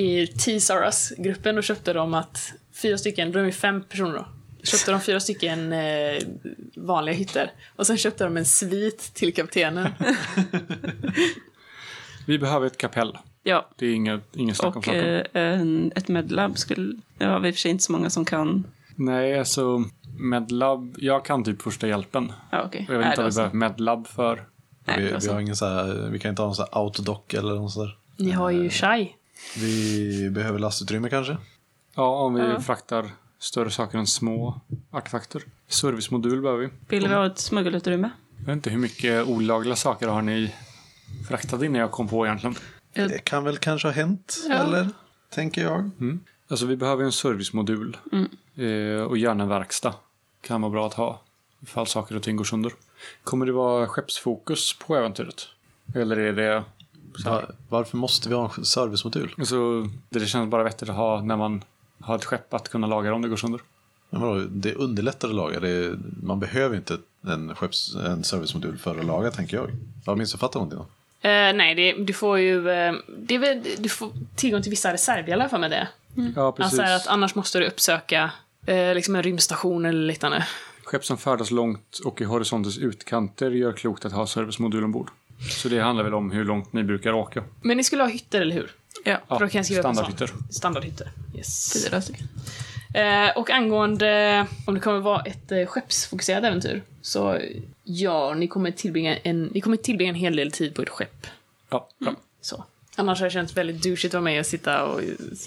I T-Saras-gruppen då köpte de att fyra stycken, då är de ju fem personer då. Köpte de fyra stycken eh, vanliga hytter. Och sen köpte de en svit till kaptenen.
Vi behöver ett kapell.
Ja,
Det är inget, ingen snack om
och
saken.
eh, en, ett medlab skulle... Det har vi i och för sig inte så många som kan.
Nej, alltså medlab. Jag kan typ första hjälpen.
Ja, okej.
Och jag vet
Nej,
inte
det
vad vi
var
behöver medlab för.
Nej,
vi,
det var
vi,
så.
har ingen så här, vi kan inte ha någon så här autodock eller något sådär.
Ni har ju Shai.
Vi behöver lastutrymme kanske?
Ja, om vi fraktar större saker än små artefakter. Servicemodul behöver vi.
Vill vi ha ett smuggelutrymme?
Jag vet inte hur mycket olagliga saker har ni fraktat in när jag kom på egentligen.
Det kan väl kanske ha hänt, eller? Tänker jag.
Alltså vi behöver ju en servicemodul.
Mm.
Eh, och gärna en verkstad. Kan vara bra att ha. Ifall saker och ting går sönder. Kommer det vara skeppsfokus på äventyret? Eller är det...
Va, varför måste vi ha en servicemodul?
Alltså, det känns bara vettigt att ha när man har ett skepp att kunna laga det om det går sönder.
Ja, vadå, Det underlättar att laga. Det är, man behöver inte en, skepps, en servicemodul för att laga, tänker jag. Har jag missuppfattat någonting? Då?
Eh, nej, det, du får ju... eh, det är väl, du får tillgång till vissa reservdelar för med det.
Ja, precis.
Alltså att annars måste du uppsöka eh, liksom en rymdstation eller liknande.
Skepp som färdas långt och i horisontens utkanter gör klokt att ha servicemodul ombord. Så det handlar väl om hur långt ni brukar åka.
Men ni skulle ha hytter, eller hur?
Ja,
Ja,
Då kan jag skriva upp en sån.
standardhytter.
Standardhytter. Yes.
fyra stycken.
Eh, och angående om det kommer vara ett eh, skeppsfokuserat äventyr. Så ja, ni kommer tillbringa en, ni kommer tillbringa en hel del tid på ett skepp.
Ja, bra.
Så. Annars har det känts väldigt douchigt att vara med och sitta och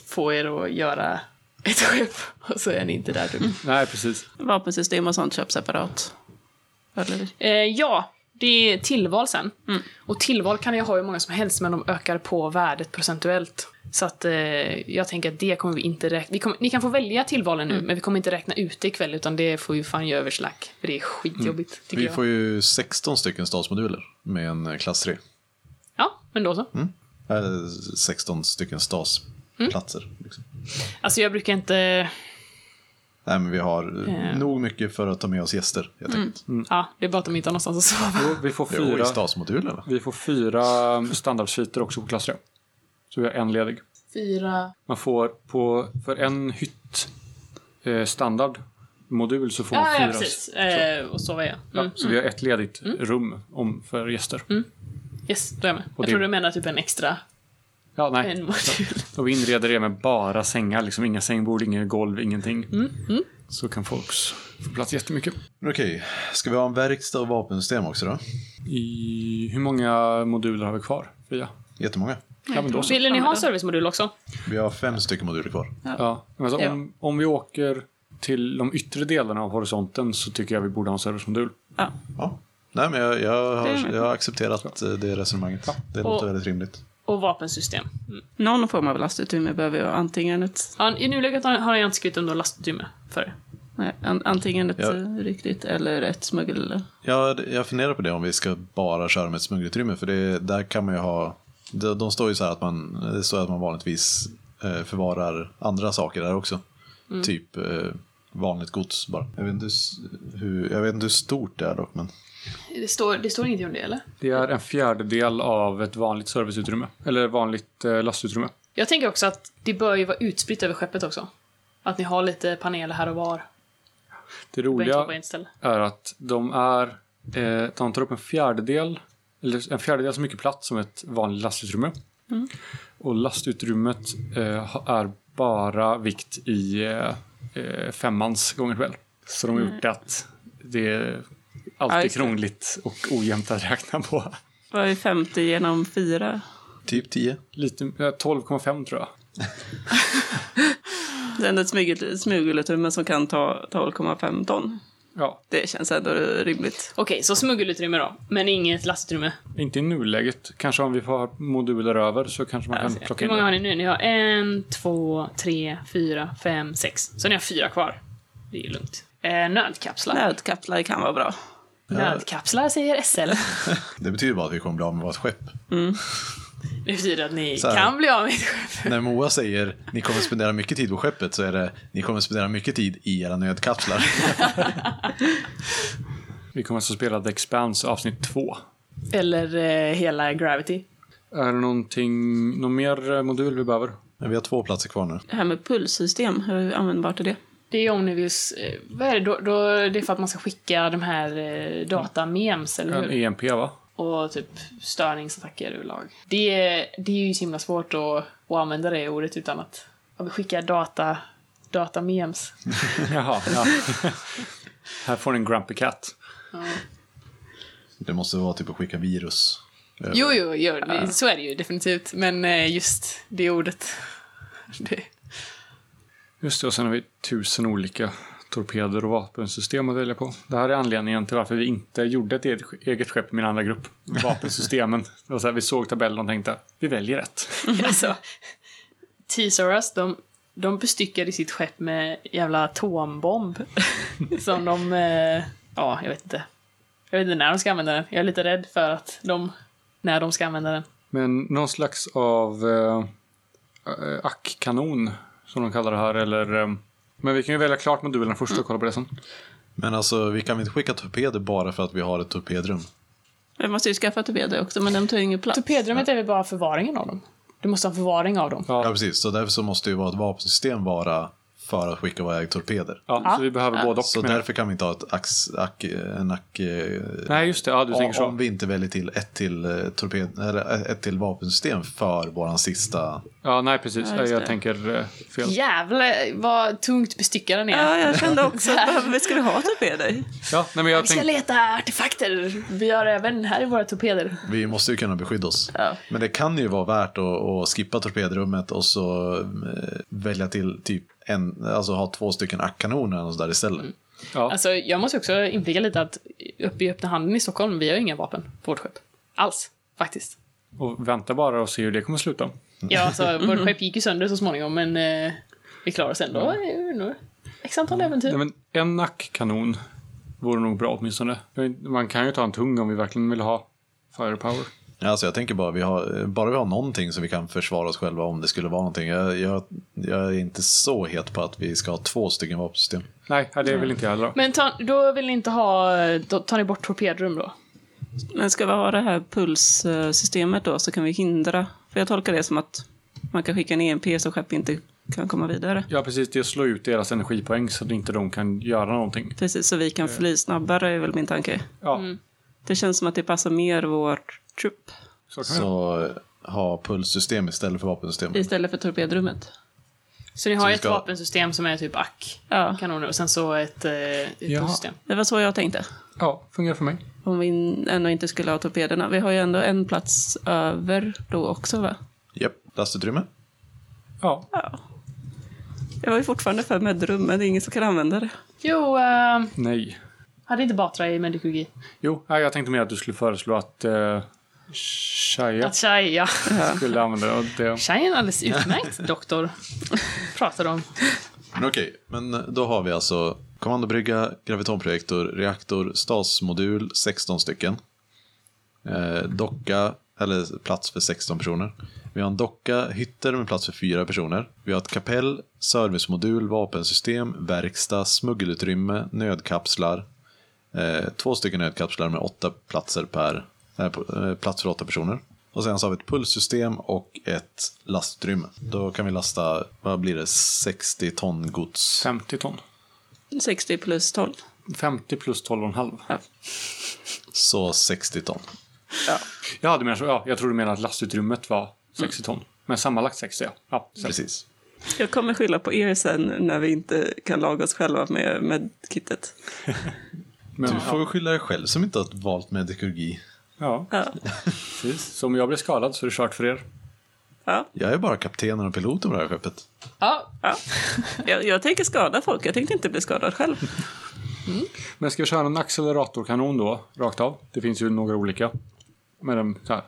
få er att göra ett skepp. Och så är ni inte där typ.
Nej, precis.
Vapensystem och sånt köps separat. Eller?
Eh, ja, det är tillval sen.
Mm.
Och tillval kan jag ha hur många som helst, men de ökar på värdet procentuellt. Så att eh, jag tänker att det kommer vi inte räkna... Vi kommer, ni kan få välja tillvalen nu,
Mm.
men vi kommer inte räkna ut det ikväll, utan det får ju fan göra över slack. För det är skitjobbigt,
Mm.
tycker
Vi
jag.
får ju 16 stycken stadsmoduler med en eh, klass 3.
Ja, men då så.
Mm.
Eh, 16 stycken stadsplatser. Liksom.
Alltså jag brukar inte...
Nej, men vi har
Eh.
nog mycket för att ta med oss gäster. Jag tänkte.
Mm.
Ja, det är bara att de inte har någonstans att sova.
Jo, vi får
Jo, i
fyra,
stadsmodulerna.
vi får fyra standardsviter också på klass 3. Så vi har en ledig.
Fyra.
Man får på, för en hytt eh, standardmodul så får man
Ja,
fyra.
ja, precis. Eh, och sova ja.
Ja,
Mm.
så vi har ett ledigt rum om, för gäster.
Yes, då är jag med. Jag
det-
tror du menar typ en extra.
Ja, nej.
En modul.
Och vi inreder det med bara sängar, liksom inga sängbord, inga golv, ingenting.
Mm,
Så kan folk s- få plats jättemycket.
Men Okej, ska vi ha en verkstad och vapensystem också då?
I, hur många moduler har vi kvar, Fia?
Jättemånga.
Ja, men då så.
Vill ni ha en servicemodul också?
Vi har fem stycken moduler kvar.
Ja, men alltså,
Ja.
om, om vi åker till de yttre delarna av horisonten så tycker jag vi borde ha en servicemodul.
Ja.
Ja. Nej, men jag, jag,
Det är
har,
med.
jag har accepterat eh, det resonemanget. Det låter
Och-
väldigt rimligt.
Och vapensystem. Mm.
Någon form av lastutrymme behöver jag. Antingen ett,
Ja, I nuläget har har jag inte skrivit om något lastutrymme för det.
nej, an, antingen ett
Ja.
eh, riktigt eller ett smuggel...
Jag, jag funderar på det om vi ska bara köra med ett smuggelutrymme. För det, där kan man ju ha... De, de står ju så här att man, det står att man vanligtvis eh, förvarar andra saker där också.
Mm.
Typ eh, vanligt gods bara. Jag vet, inte hur, s- hur, jag vet inte hur stort det är dock, men...
Det står, det står ingenting om det, eller?
Det är en fjärdedel av ett vanligt serviceutrymme. Eller vanligt eh, lastutrymme.
Jag tänker också att det bör ju vara utspritt över skeppet också. Att ni har lite paneler här och var. Det
Det
behöver inte vara
roliga
på ett ställe.
är att de är... Eh, de tar upp en fjärdedel, eller en fjärdedel så mycket plats som ett vanligt lastutrymme.
Mm.
Och lastutrymmet eh, ha- är bara vikt i eh, eh, femmans gånger själv. Så de har gjort att det är
Mm. Ja,
alltid
just det.
krångligt och ojämnt att räkna på.
Vad är 50 genom 4?
Typ 10.
Lite, eh, 12,5 tror jag.
Sen ett smugel, smuggelutrymme som kan ta 12,5 ton.
Ja,
Det känns ändå rimligt.
Okej, så smuggelutrymme då, men inget lastutrymme.
inte i nuläget. Kanske om vi får moduler över så kanske man kan plocka
Hur
in
många
det.
har ni nu? Ni har en, två, tre, fyra, fem, sex. Så ni har fyra kvar. Det är ju lugnt. Eh, nödkapslar.
Nödkapslar kan vara bra.
Nödkapslar säger
(laughs)
SL.
Det betyder bara att vi kommer bli av med vårt skepp.
Det betyder att ni
Så här.
kan bli av med ett skepp.
När Moa säger ni kommer spendera mycket tid på skeppet så är det ni kommer spendera mycket tid i era nödkapslar.
Vi kommer alltså spela The Expanse avsnitt 2.
Eller eh, hela Gravity.
Är det någonting, någon mer eh, modul vi behöver?
Men vi har två platser kvar nu.
Det här med pulssystem, hur användbart är det?
Det är Omnivius... Eh, vad är det? Då, då, det är för att man ska skicka de här eh, datamemes, eller
En
hur?
EMP E va?
Och typ störningsattacker överlag. Det, är- det är ju så himla svårt att, att använda det ordet utan att... Att vi skickar data... Datamemes.
Jaha, ja. (laughs) Här får ni en Grumpy Cat.
Det måste vara typ att skicka virus.
Jo, jo, jo det, så är det ju definitivt. Men eh, just det ordet. (laughs) Det,
Just det, och sen har vi tusen olika torpeder och vapensystem att välja på. Det här är anledningen till varför vi inte gjorde ett eget- eget skepp i min andra grupp. Vapensystemen. Det var så här, vi såg tabellen och tänkte, vi väljer ett.
(laughs) alltså, T-Soras, de, de bestyckade sitt skepp med jävla
(laughs)
atombomb. som de... Eh, ja, jag vet inte. Jag vet inte när de ska använda den. Jag är lite rädd för att de... När de ska använda den.
Men någon slags av eh, eh, ack-kanon, som de kallar det här, eller... Eh, men vi kan ju välja klart modulerna först och kolla på det sen.
Men alltså, vi kan väl inte skicka torpeder bara för att vi har ett torpedrum?
Jag måste ju skaffa torpeder också, men de tar ju ingen plats.
Torpedrummet är väl bara förvaringen av dem? Du måste ha en förvaring av dem.
Ja, precis. Så därför så måste ju vårt vapensystem vara för att skicka iväg torpeder.
Ja, så vi behöver både och.
så
menar jag.
därför kan vi inte ha ett ax, ack, en ack... eh,
Nej, just det. Ja, du tänker så.
Om vi inte väljer till ett till, eh, torped, eller ett till vapensystem för våran sista...
Ja, nej, precis.
Ja, just
jag
det.
tänker eh, fel.
Jävlar vad tungt bestyckad den är.
Ja, jag kände också att behöver, ska vi ha torpeder?
Ja, nej, men jag
Vi ska
tänkte...
leta artefakter. Vi har även här i våra torpeder.
Vi måste ju kunna beskydda oss.
Ja.
Men det kan ju vara värt att, att skippa torpedrummet och så eh, välja till typ en, alltså ha två stycken ackkanoner eller något sådär istället.
Ja,
Alltså, jag måste också inflika lite att uppe i öppna handen i Stockholm, vi har inga vapen på vårt skepp. Alls, faktiskt.
och vänta bara och se hur det kommer sluta.
Ja, alltså, vårt skepp gick ju sönder så småningom, men eh, vi klarar oss ändå. Mm. X antal
Nej,
äventyr.
men en nackkanon vore nog bra åtminstone. Jag vet inte, Man kan ju ta en tung om vi verkligen vill ha firepower.
Alltså jag tänker bara, vi har, bara vi har någonting som vi kan försvara oss själva om det skulle vara någonting. Jag, jag, jag är inte så het på att vi ska ha två stycken vapensystem.
Nej, det är väl inte jag heller.
Men ta, då vill ni inte ha... Då tar ni bort torpedrum då?
Men ska vi ha det här pulssystemet då så kan vi hindra. För jag tolkar det som att man kan skicka en EMP så skepp inte kan komma vidare.
Ja, precis. Det slår ut deras energipoäng så att inte de kan göra någonting.
Precis, så vi kan fly snabbare är väl min tanke.
Ja,
Det känns som att det passar mer vår trupp
så kan jag.
Så eh, ha pulssystem istället för vapensystem.
istället för torpedrummet.
Så ni har
Så vi
ett
ska-
vapensystem som är typ ack,
Ja,
kanoner, och sen så ett, eh, ett
Ja.
pulssystem.
det var så jag tänkte.
Ja, fungerar för mig.
Om vi ändå inte skulle ha torpederna. Vi har ju ändå en plats över då också va?
Japp, lastutrymme.
Ja,
Jag var ju fortfarande för med ett rum, men det är ingen som kan använda det.
Jo, eh,
nej.
hade inte Batra i medikogi?
Jo, nej, jag tänkte mer att du skulle föreslå att eh, Shia
Att tjeja.
skulle använda det. Och det.
Tjejen är alldeles utmärkt doktor. Pratar om.
Men okej, men eh, då har vi alltså kommandobrygga, gravitonprojektor, reaktor, stasmodul, 16 stycken. Eh, docka, eller plats för 16 personer. Vi har en docka, hytter med plats för 4 personer. Vi har ett kapell, servicemodul, vapensystem, verkstad, smuggelutrymme, nödkapslar. Eh, två stycken nödkapslar med åtta platser per, eh, på- eh, plats för åtta personer. Och sen så har vi ett pulssystem och ett lastutrymme. Då kan vi lasta, vad blir det, 60 ton gods.
50 ton.
60 plus 12.
50 plus 12,5.
Så 60 ton.
Ja, du menar så. Ja, jag tror du menar att lastutrymmet var 60 ton. Men sammanlagt 60, ja. ja sen-
Precis.
Jag kommer skylla på er sen när vi inte kan laga oss själva med, med kittet.
men,
Du får skylla dig själv som inte har valt medikurgi.
ja, ja,
Ja.
precis. Så om jag blir skadad så är det kört för er.
Ja.
Jag är bara kaptenen och piloten på det här skeppet.
Ja,
Ja. Jag, jag tänker skada folk, jag tänkte inte bli skadad själv.
Men ska vi köra en acceleratorkanon då, rakt av? Det finns ju några olika. Med den, så här,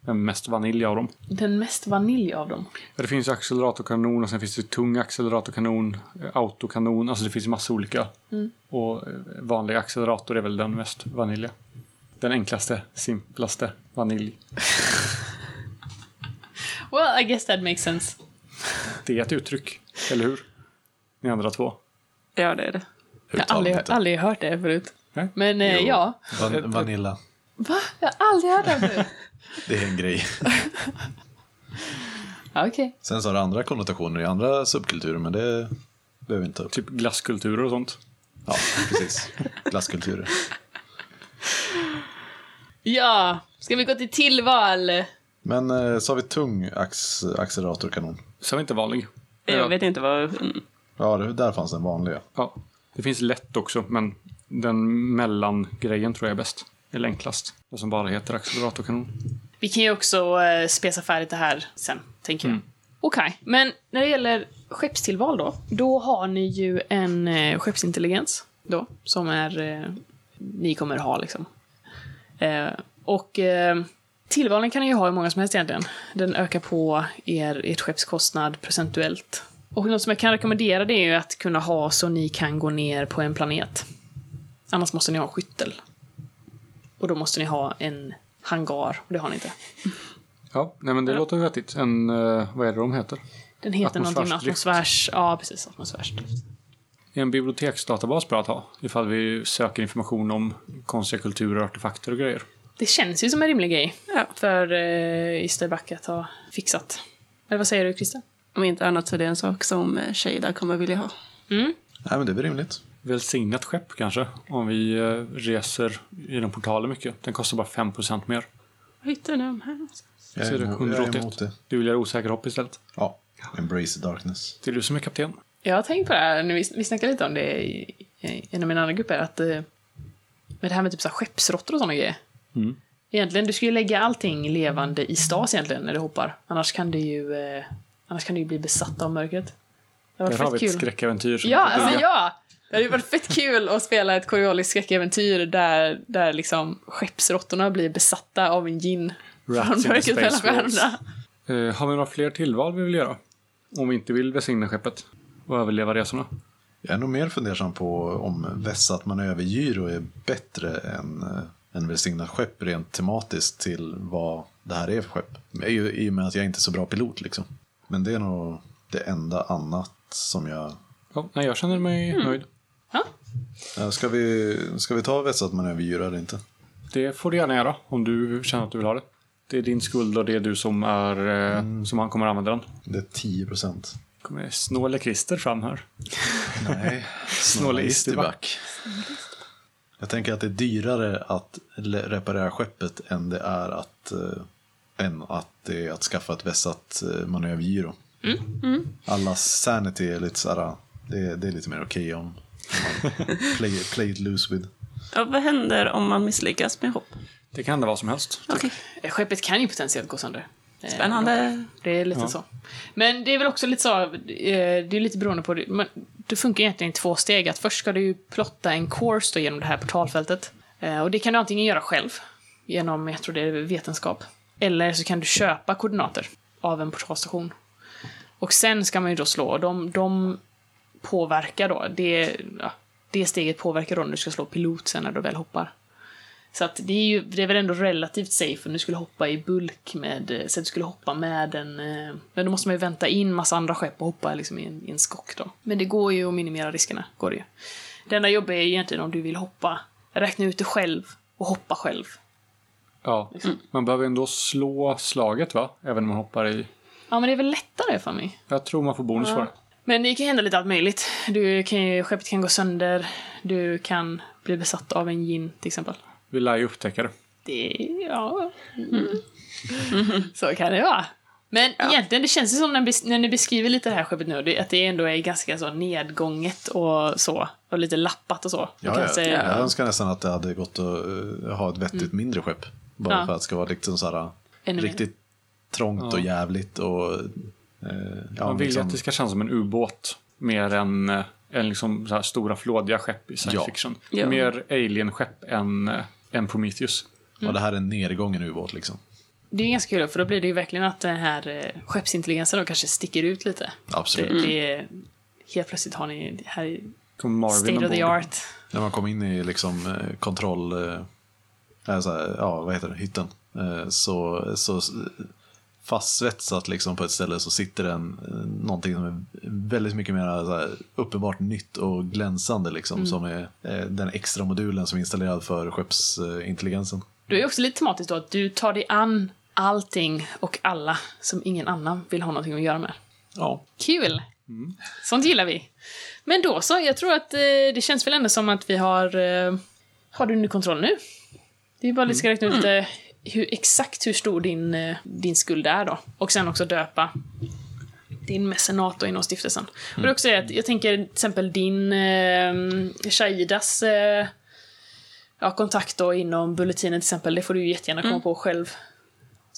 den mest vanilj av dem.
den mest vanilj av dem.
Ja, Det finns ju acceleratorkanon och sen finns det tung acceleratorkanon, eh, autokanon, alltså det finns massa olika.
Mm.
Och eh, vanlig accelerator är väl den mest vanilja. Den enklaste, simplaste vanilj.
Well, I guess that makes sense.
Det är ett uttryck, eller hur? Ni andra två.
Ja, det är det.
Jag har aldrig, aldrig hört det förut.
Nej.
Men eh, ja.
Van- vanilla.
Va? Jag har aldrig hört det förut.
Det är en grej.
Ja, Okej.
Sen så har det andra konnotationer i andra subkulturer, men det behöver vi inte ta upp.
Typ glasskulturer och sånt.
Ja, precis. Glasskulturer.
Ja, ska vi gå till tillval?
Men eh, så har vi tung ax- acceleratorkanon.
Så är inte vanlig.
Jag vet inte vad...
Ja, det, där fanns den vanliga.
Ja. Det finns lätt också, men den mellangrejen tror jag är bäst. Eller enklast. Den som bara heter acceleratorkanon.
Vi kan ju också eh, spesa färdigt det här sen, tänker jag. Okej, men när det gäller skeppstillval då, då har ni ju en eh, skeppsintelligens då, som är eh, ni kommer ha liksom. Eh, och eh, tillvalen kan ni ju ha hur många som helst egentligen. Den ökar på er, ert skepps kostnad procentuellt. Och något som jag kan rekommendera det är ju att kunna ha så ni kan gå ner på en planet. Annars måste ni ha skyttel. Och då måste ni ha en hangar, och det har ni inte.
Ja, nej men det låter ju vettigt. En, eh, vad är det de heter?
Den heter någonting med
Atmosfärsdrift.
atmosfärs... Ja, precis. Atmosfärsdrift.
Är en biblioteksdatabas bra att ha? Ifall vi söker information om konstiga kulturer, artefakter och grejer.
Det känns ju som en rimlig grej
Ja.
för eh, Ysterbacke att ha fixat. Eller vad säger du, Christer?
Om inte annat så är det en sak som eh, Shada kommer vilja ha.
Mm?
Nej, men det är väl rimligt.
Välsignat skepp kanske? Om vi eh, reser i den portalen mycket. Den kostar bara 5% mer.
Hittar ni de här?
Jag
Så är det
emot- jag
181.
emot det.
Du vill göra osäker hopp istället.
Ja, embrace the darkness.
Det är du som är kapten.
Jag har tänkt på det här, nu, vi, vi snackade lite om det i, i en av mina andra grupper, att eh, med det här med typ så här skeppsråttor och sådana grejer.
Mm.
Egentligen, du ska ju lägga allting levande i stas egentligen när du hoppar. Annars kan du ju, eh, annars kan du ju bli besatt av mörkret. Det har
Där har vi
varit
ett
fett kul.
skräckäventyr. Som
Ja,
heter
alltså
duga.
ja! Det hade ju varit fett kul att spela ett koreoliskt skräckäventyr där, där liksom skeppsråttorna blir besatta av en gin
Rats
från
in the
mörkret
space
mellan
walls.
stjärnorna.
Eh, har vi några fler tillval vi vill göra? Om vi inte vill välsigna skeppet och överleva resorna.
Jag är nog mer fundersam på om vässat manövergyro är bättre än, eh, en välsignat skepp rent tematiskt till vad det här är för skepp. Men ju- I och med att jag inte är så bra pilot liksom. Men det är nog det enda annat som jag...
Ja, nej, jag känner mig
Mm.
nöjd.
Ja.
Ja, Eh, Ska vi, ska vi ta vässat manöverdjur eller inte?
Det får du gärna göra om du känner att du vill ha det. Det är din skuld och det är du som, är, eh, som han kommer använda den.
Det är 10 procent.
kommer snåle Christer fram här.
Nej,
Snåle Isterback.
Jag tänker att det är dyrare att le- reparera skeppet än det är att, eh, än att, det är att skaffa ett vässat eh, manövergiro.
Mm.
Allas sanity är lite såhär, det, är- det är lite mer okej om om man play, play it loose with.
Ja, vad händer om man misslyckas med hopp?
Det kan hända vad som helst.
Okej,
Eh, Skeppet kan ju potentiellt gå sönder. Eh,
spännande.
Det är lite så. Men det är väl också lite så, eh, det är lite beroende på, men det funkar egentligen i två steg. Att först ska du ju plotta en course då genom det här portalfältet. Eh, Och det kan du antingen göra själv, genom, jag tror det är vetenskap. Eller så kan du köpa koordinater av en portalstation. Och sen ska man ju då slå, och de, de påverkar då, det, ja, det steget påverkar då när du ska slå pilot sen när du väl hoppar. Så att det är ju, det är väl ändå relativt safe om du skulle hoppa i bulk med, eh, så att du skulle hoppa med en, eh, men då måste man ju vänta in massa andra skepp och hoppa liksom i en, i en skock då. Men det går ju att minimera riskerna, går det ju. Det enda jobbiga är ju egentligen om du vill hoppa, räkna ut det själv och hoppa själv.
Ja. Man behöver ändå slå slaget va? Även om man hoppar i.
Ja men det är väl lättare för mig.
Jag tror man får bonus för det.
Men det kan hända lite allt möjligt. Du kan ju, skeppet kan gå sönder, du kan bli besatt av en gin till exempel.
Vi lär ju upptäcka det.
Det, ja. Så kan det vara. Men egentligen, det känns ju som när, bes- när ni beskriver lite det här skeppet nu, det- att det ändå är ganska så nedgånget och så. Och lite lappat och så.
Ja,
Man kan
jag,
säga- Mm.
jag önskar nästan att det hade gått att eh, ha ett vettigt mindre skepp. Bara
Ja.
för att det ska vara liksom såhär,
Ännu mer.
riktigt trångt och jävligt och... eh, ja,
Man vill ju
liksom-
att det ska kännas som en ubåt. Mer än, eh, än liksom så här stora flådiga skepp i science
Ja.
fiction.
Ja.
Mer alien-skepp än, eh, än Prometheus.
Ja, det här är en nedgången ubåt liksom.
Det är ganska kul, för då blir det ju verkligen att den här eh, skeppsintelligensen då kanske sticker ut lite.
Absolut.
Det, det är, helt plötsligt har ni det här är
Kommer Marvin
state of the
ombord.
art.
När man kom in i liksom eh, kontroll... eh, Alltså, ja, vad heter det? Hytten. Eh, Så, så fastsvetsat liksom på ett ställe så sitter den eh, någonting som är väldigt mycket mer så här, uppenbart nytt och glänsande liksom. Som är eh, den extra modulen som är installerad för skeppsintelligensen.
Du är också lite tematiskt då att du tar dig an allting och alla som ingen annan vill ha någonting att göra med.
Ja.
Kul! Sånt gillar vi. Men då så, jag tror att eh, det känns väl ändå som att vi har... Eh, har du under kontroll nu? Det är bara att vi ska räkna ut eh, hur, exakt hur stor din, eh, din skuld är då. Och sen också döpa din mecenat då inom stiftelsen. Och det är också är att jag tänker till exempel din eh, Shaidas eh, ja, kontakt då inom bulletinen till exempel, det får du ju jättegärna komma på själv.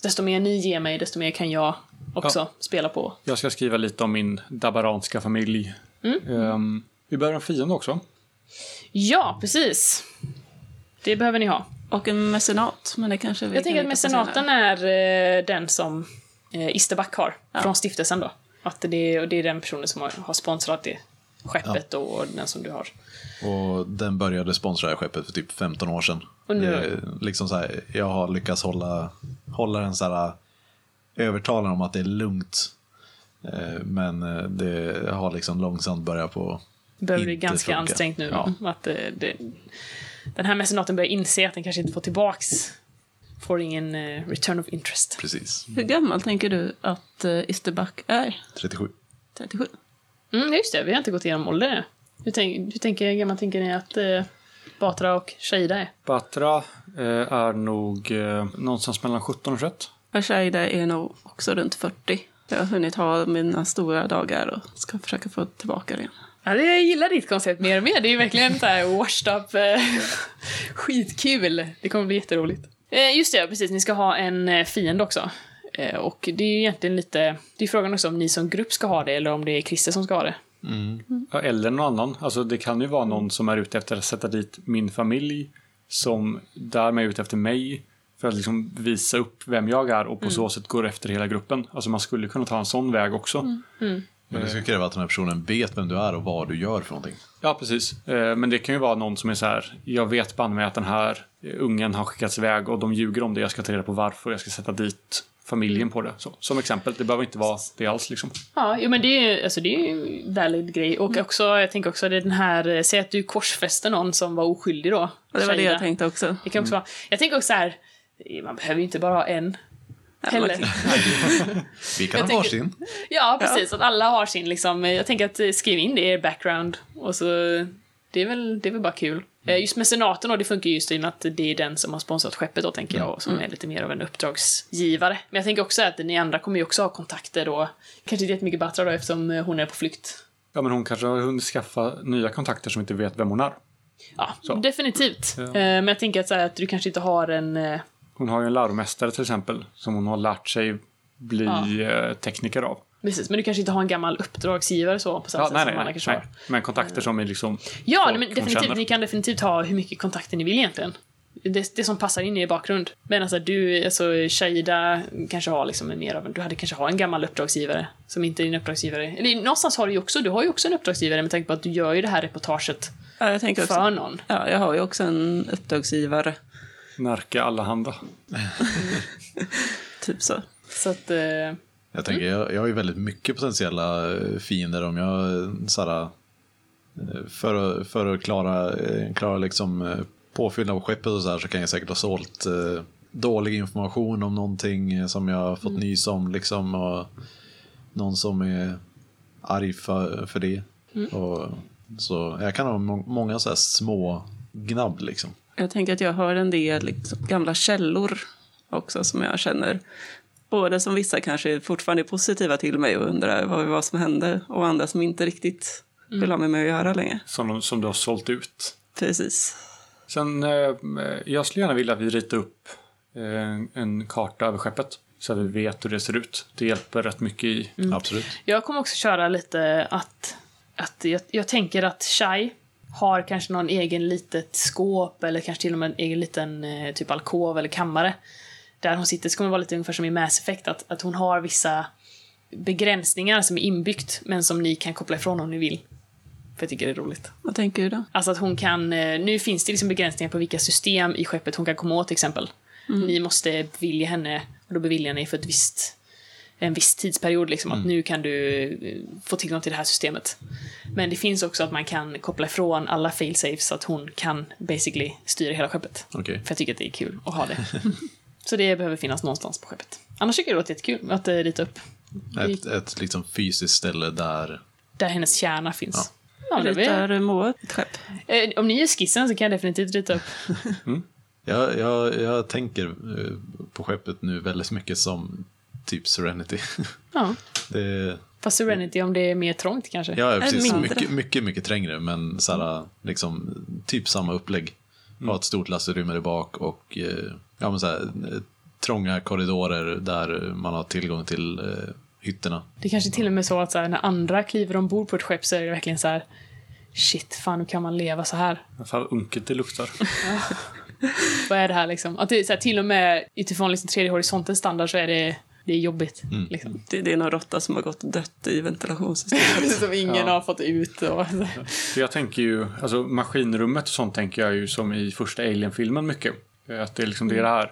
Desto mer ni ger mig, desto mer kan jag också spela på.
Jag ska skriva lite om min dabaranska familj.
Mm.
Ehm, vi behöver en fiende också.
Ja, precis. Det behöver ni ha.
Och en mecenat, men det kanske vi
Jag tänker
kan
att
hitta på senare.
mecenaten är eh, den som eh, Isterback har från stiftelsen då. Att det, är- och det är den personen som har, har sponsrat det skeppet då, och den som du har.
Och den började sponsra det här skeppet för typ 15 år sedan.
Och nu-
Eh, liksom så här, jag har lyckats hålla, hålla den så här övertalande om att det är lugnt. Eh, Men eh, det har liksom långsamt börjat på...
Börjar bli
inte
ganska
funka.
ansträngt nu.
Ja.
Att, eh, det, den här mecenaten börjar inse att den kanske inte får tillbaks, får ingen eh, return of interest.
Precis.
Hur gammal tänker du att eh, Isterback är?
37.
37?
Mm, just det, vi har inte gått igenom ålder ännu. Hur, tänk, hur tänker, hur gammal tänker ni att eh, Batra och Shahida är?
Batra eh, är nog eh, någonstans mellan 17 och 21.
Ashaida är nog också runt 40. Jag har hunnit ha mina stora dagar och ska försöka få tillbaka det igen.
Ja, det- jag gillar ditt koncept mer och mer. Det är ju verkligen så här washed up. eh, Skitkul! Det kommer bli jätteroligt. Eh, Just det, ja, precis. Ni ska ha en eh, fiende också. Eh, Och det är ju egentligen lite... Det är frågan också om ni som grupp ska ha det eller om det är Christer som ska ha det.
Ja, Eller någon annan. Alltså, det kan ju vara någon som är ute efter att sätta dit min familj som därmed är ute efter mig för att liksom visa upp vem jag är och på så sätt går efter hela gruppen. Alltså man skulle kunna ta en sån väg också.
Mm.
Men det skulle kräva att den här personen vet vem du är och vad du gör för någonting.
Ja, precis. Eh, Men det kan ju vara någon som är så här, jag vet banne mig att den här ungen har skickats iväg och de ljuger om det. Jag ska ta reda på varför. Jag ska sätta dit familjen på det. Så, som exempel, det behöver inte vara det alls liksom.
Ja, jo, men det är ju alltså, det är ju en valid grej. Och också, jag tänker också, det är den här, eh, säg att du korsfäster någon som var oskyldig då.
Och det var det
Shaida.
jag tänkte också.
Det kan också vara, jag tänker också så här, eh, man behöver ju inte bara ha en. Heller.
Vi kan
Jag
ha
tänker-
varsin.
Ja, precis. Att alla har sin liksom, eh, jag tänker att eh, skriv in det i er background. Och så, eh, det är väl, det är väl bara kul. Eh,
Mm.
Just mecenaten då, det funkar ju just i och med att det är den som har sponsrat skeppet då, tänker
Mm.
jag, och som är lite mer av en uppdragsgivare. Men jag tänker också att ni andra kommer ju också ha kontakter då, kanske inte jättemycket Batra då eftersom eh, hon är på flykt.
Ja, men hon kanske har hunnit skaffa nya kontakter som inte vet vem hon är.
Ja,
Så.
definitivt.
Ja.
Eh, Men jag tänker att, så här, att du kanske inte har en... eh,
Hon har ju en läromästare till exempel som hon har lärt sig bli eh, tekniker av.
Precis, men du kanske inte har en gammal uppdragsgivare så på samma
Ja,
sätt
nej,
som
nej,
alla
nej,
kanske
nej.
har.
Men kontakter som är liksom...
Ja,
folk
nej, men
hon
definitivt.
känner.
Ni kan definitivt ha hur mycket kontakter ni vill egentligen. Det, det som passar in i er bakgrund. Men alltså du, alltså Shaida kanske har liksom en mer av en, du hade kanske ha en gammal uppdragsgivare som inte är din uppdragsgivare. Eller någonstans har du ju också, du har ju också en uppdragsgivare med tanke på att du gör ju det här reportaget
Ja, jag tänker
för
också.
någon.
Ja, jag har ju också en uppdragsgivare,
Närke Allahanda.
typ så.
Så att, eh,
Jag tänker, jag, jag har ju väldigt mycket potentiella eh, fiender om jag eh, såhär, eh, för, att- för att klara, eh, klara liksom eh, påfyllnad på skeppet och så här så kan jag säkert ha sålt eh, dålig information om någonting eh, som jag har fått nys om liksom och någon som är arg för, för det. Och, så jag kan ha må- många så här små gnabb liksom.
Jag tänker att jag har en del liksom, gamla källor också som jag känner. Både som vissa kanske fortfarande är positiva till mig och undrar vad det var som hände och andra som inte riktigt
Mm.
vill ha med mig att göra längre.
Som, de, som du har sålt ut.
Precis.
Sen, eh, jag skulle gärna vilja att vi ritar upp eh, en karta över skeppet. Så att vi vet hur det ser ut. Det hjälper rätt mycket i...
Absolut.
Jag kommer också köra lite att, att jag, jag tänker att Shai har kanske någon egen litet skåp eller kanske till och med en egen liten eh, typ alkov eller kammare. Där hon sitter, så kommer det vara lite ungefär som i Mass Effect, att, att hon har vissa begränsningar som är inbyggt men som ni kan koppla ifrån om ni vill. För jag tycker det är roligt.
Vad tänker du då?
Alltså att hon kan, eh, nu finns det liksom begränsningar på vilka system i skeppet hon kan komma åt till exempel. Ni måste bevilja henne, och då beviljar ni för ett visst, en viss tidsperiod liksom, att nu kan du eh, få tillgång till det här systemet. Men det finns också att man kan koppla ifrån alla failsafes så att hon kan basically styra hela skeppet.
Okej.
För jag tycker att det är kul att ha det. så det behöver finnas någonstans på skeppet. Annars tycker jag det låter jättekul att eh, rita upp
Ett, ett liksom fysiskt ställe där
där hennes kärna finns. Ja. men det blir-
Ritar Moa ett skepp?
eh, om ni gör skissen så kan jag definitivt rita upp
Jag, jag, jag tänker eh, på skeppet nu väldigt mycket som typ Serenity. (laughs)
ja.
Det,
Fast Serenity om det är mer trångt kanske?
ja, ja, precis.
mindre.
Mycket, mycket, mycket trängre, men såhär, liksom, typ samma upplägg. Ha ett stort lastrutrymme där bak och eh, ja, men såhär, eh, trånga korridorer där man har tillgång till eh, hytterna.
Det kanske till och med är så att så här, när andra kliver ombord på ett skepp så är det verkligen så här Shit, fan hur kan man leva så här?
Fan vad unket det luktar.
Vad är det här liksom? Att det är så här, till och med utifrån liksom tredje horisontens standard så är det, det är jobbigt. Liksom.
Det, det är någon råtta som har gått och dött i ventilationssystemet.
(laughs) Som ingen
Ja.
har fått ut. Och,
För jag tänker ju, alltså maskinrummet och sånt tänker jag ju som i första Alien-filmen mycket. Eh, Att det är liksom det här.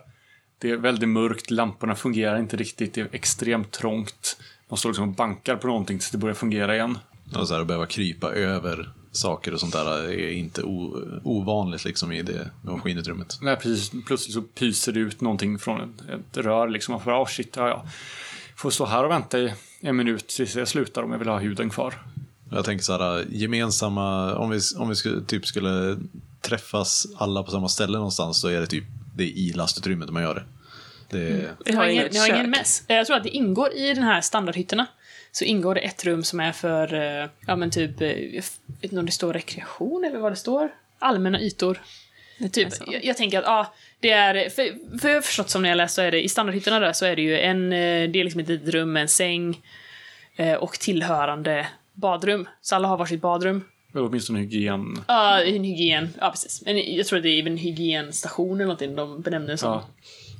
Det är väldigt mörkt, lamporna fungerar inte riktigt, det är extremt trångt. Man står liksom och bankar på någonting tills det börjar fungera igen.
Och såhär, att behöva krypa över saker och sånt där är inte o, ovanligt liksom, i det maskinutrymmet.
Nej, precis, plötsligt så pyser det ut någonting från ett, ett rör liksom. Man får, ah shit, ja, ja. Får stå här och vänta i en minut tills jag slutar om jag vill ha huden kvar.
Jag tänker så här, äh, gemensamma, om vi, om vi skulle, typ skulle träffas alla på samma ställe någonstans så är det typ det är i lastutrymmet man gör det. det
Vi
Ni har ingen,
inget
ni har ingen
kök.
mess. Eh, Jag tror att det ingår i den här standardhytterna. Så ingår det ett rum som är för, eh, ja men typ, eh, jag vet inte om det står rekreation eller vad det står. Allmänna ytor. Typ,
så.
jag, jag tänker att, ja, det är, för, för jag har förstått som när jag läst så är det, i standardhyttorna där så är det ju en, eh, det är liksom ett litet rum med en säng eh, och tillhörande badrum. Så alla har varsitt badrum.
Eller åtminstone hygien.
Ja, en hygien, ja precis. En, jag tror att det är en hygienstation eller någonting de benämner det som.
Ja.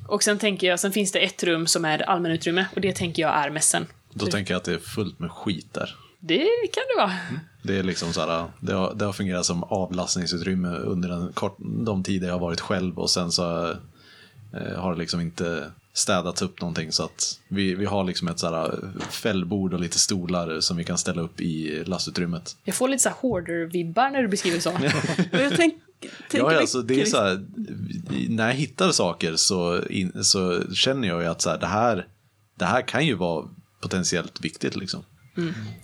Och sen tänker jag, sen finns det ett rum som är allmänutrymme och det tänker jag är mässen.
Då tänker jag att det är fullt med skit där.
Det kan det vara.
Det, är liksom så här, det, har, det har fungerat som avlastningsutrymme under den kort, de tider jag har varit själv och sen så eh, har det liksom inte städats upp någonting så att vi, vi har liksom ett så här fällbord och lite stolar som vi kan ställa upp i lastutrymmet.
Jag får lite så här hoarder-vibbar när du beskriver så.
Och jag tänk, tänker liksom?
Ja, alltså, det är
Chris-
så här, när jag hittar saker så, in, så känner jag ju att så här, det, här, det här kan ju vara potentiellt viktigt. Liksom.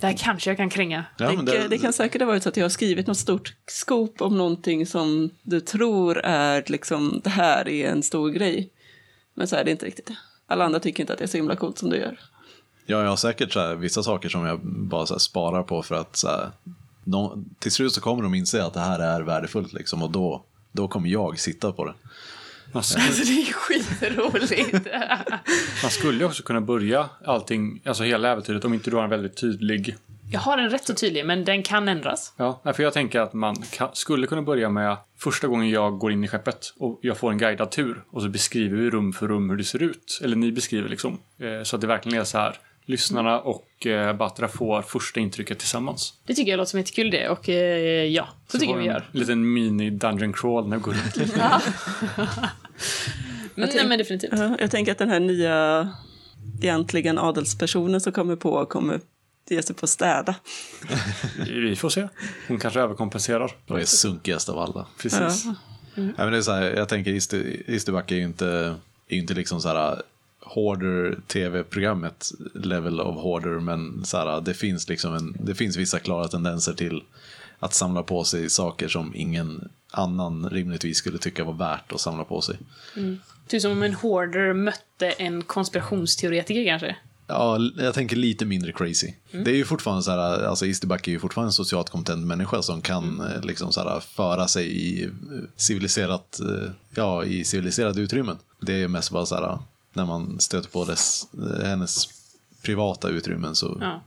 Det här kanske jag kan kränga.
Ja, men
det, det kan säkert ha varit så att jag har skrivit något stort skop om någonting som du tror är liksom, det här är en stor grej. Men så är det inte riktigt. Alla andra tycker inte att det är så himla coolt som du gör.
Ja, jag har säkert så här, vissa saker som jag bara så här, sparar på för att så här, nå- till slut så kommer de inse att det här är värdefullt liksom, och då, då kommer jag sitta på det.
Man skulle,
Alltså, det är skitroligt.
man skulle ju också kunna börja allting, alltså hela äventyret, om inte du har en väldigt tydlig...
(laughs) jag har en rätt så tydlig, men den kan ändras.
Ja, nej, för jag tänker att man ka, skulle kunna börja med första gången jag går in i skeppet och jag får en guidad tur och så beskriver vi rum för rum hur det ser ut. Eller ni beskriver liksom. Eh, så att det verkligen är så här. Lyssnarna och eh, Batra får första intrycket tillsammans.
Det tycker jag låter som ett kul det och eh, ja, så, tycker jag
får
vi
en
gör.
liten mini dungeon crawl när vi går runt lite.
Mm, nej, men definitivt.
Ja, Jag tänker att den här nya, egentligen adelspersonen som kommer på, kommer ge sig på att städa.
Vi får se. Hon kanske överkompenserar.
Det var det sunkigast av alla.
Precis.
Ja, men det är så här, jag tänker Ister- Isterback är ju inte, är ju inte liksom så här Hoarder tv-programmet level of Hoarder men så här, det, finns liksom en, det finns vissa klara tendenser till att samla på sig saker som ingen annan rimligtvis skulle tycka var värt att samla på sig.
Typ som om en hoarder mötte en konspirationsteoretiker kanske.
Ja, l- jag tänker lite mindre crazy. Det är ju fortfarande så här, alltså Isterback är ju fortfarande en socialt kompetent människa som kan eh, liksom så här, föra sig i eh, civiliserat, eh, ja, i civiliserade utrymmen. Det är mest bara så här, när man stöter på dess, eh, hennes privata utrymmen så,
Ja.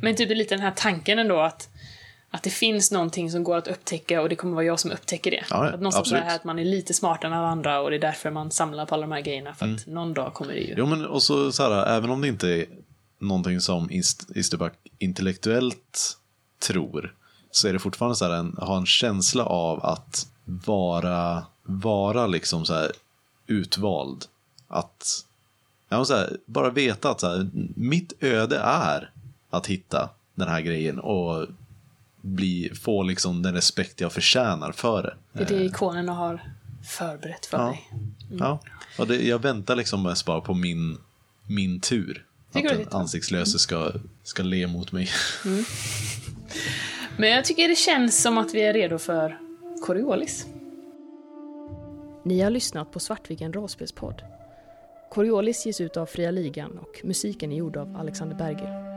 Men typ det är lite den här tanken ändå att, att det finns någonting som går att upptäcka och det kommer vara jag som upptäcker det.
Ja, ja,
att någonstans
absolut.
är det här att man är lite smartare än alla andra och det är därför man samlar på alla de här grejerna för att någon dag kommer det ju.
Mm. Jo, men och så, så här, även om det inte är någonting som Ist- Isterback intellektuellt tror, så är det fortfarande så här, en, ha en känsla av att vara, vara liksom så här, utvald. Att, ja, men så här, bara veta att så här, mitt öde är att hitta den här grejen och bli, få liksom den respekt jag förtjänar för det.
Det är det ikonerna har förberett för
Ja.
mig. Mm.
Ja, och det, jag väntar liksom mest bara på min, min tur.
Tycker
att
du
den
det?
ansiktslöse ska, ska le mot mig.
Men jag tycker det känns som att vi är redo för Coriolis. Ni har lyssnat på Svartviken rollspelspodd. Coriolis ges ut av Fria Ligan och musiken är gjord av Alexander Berger.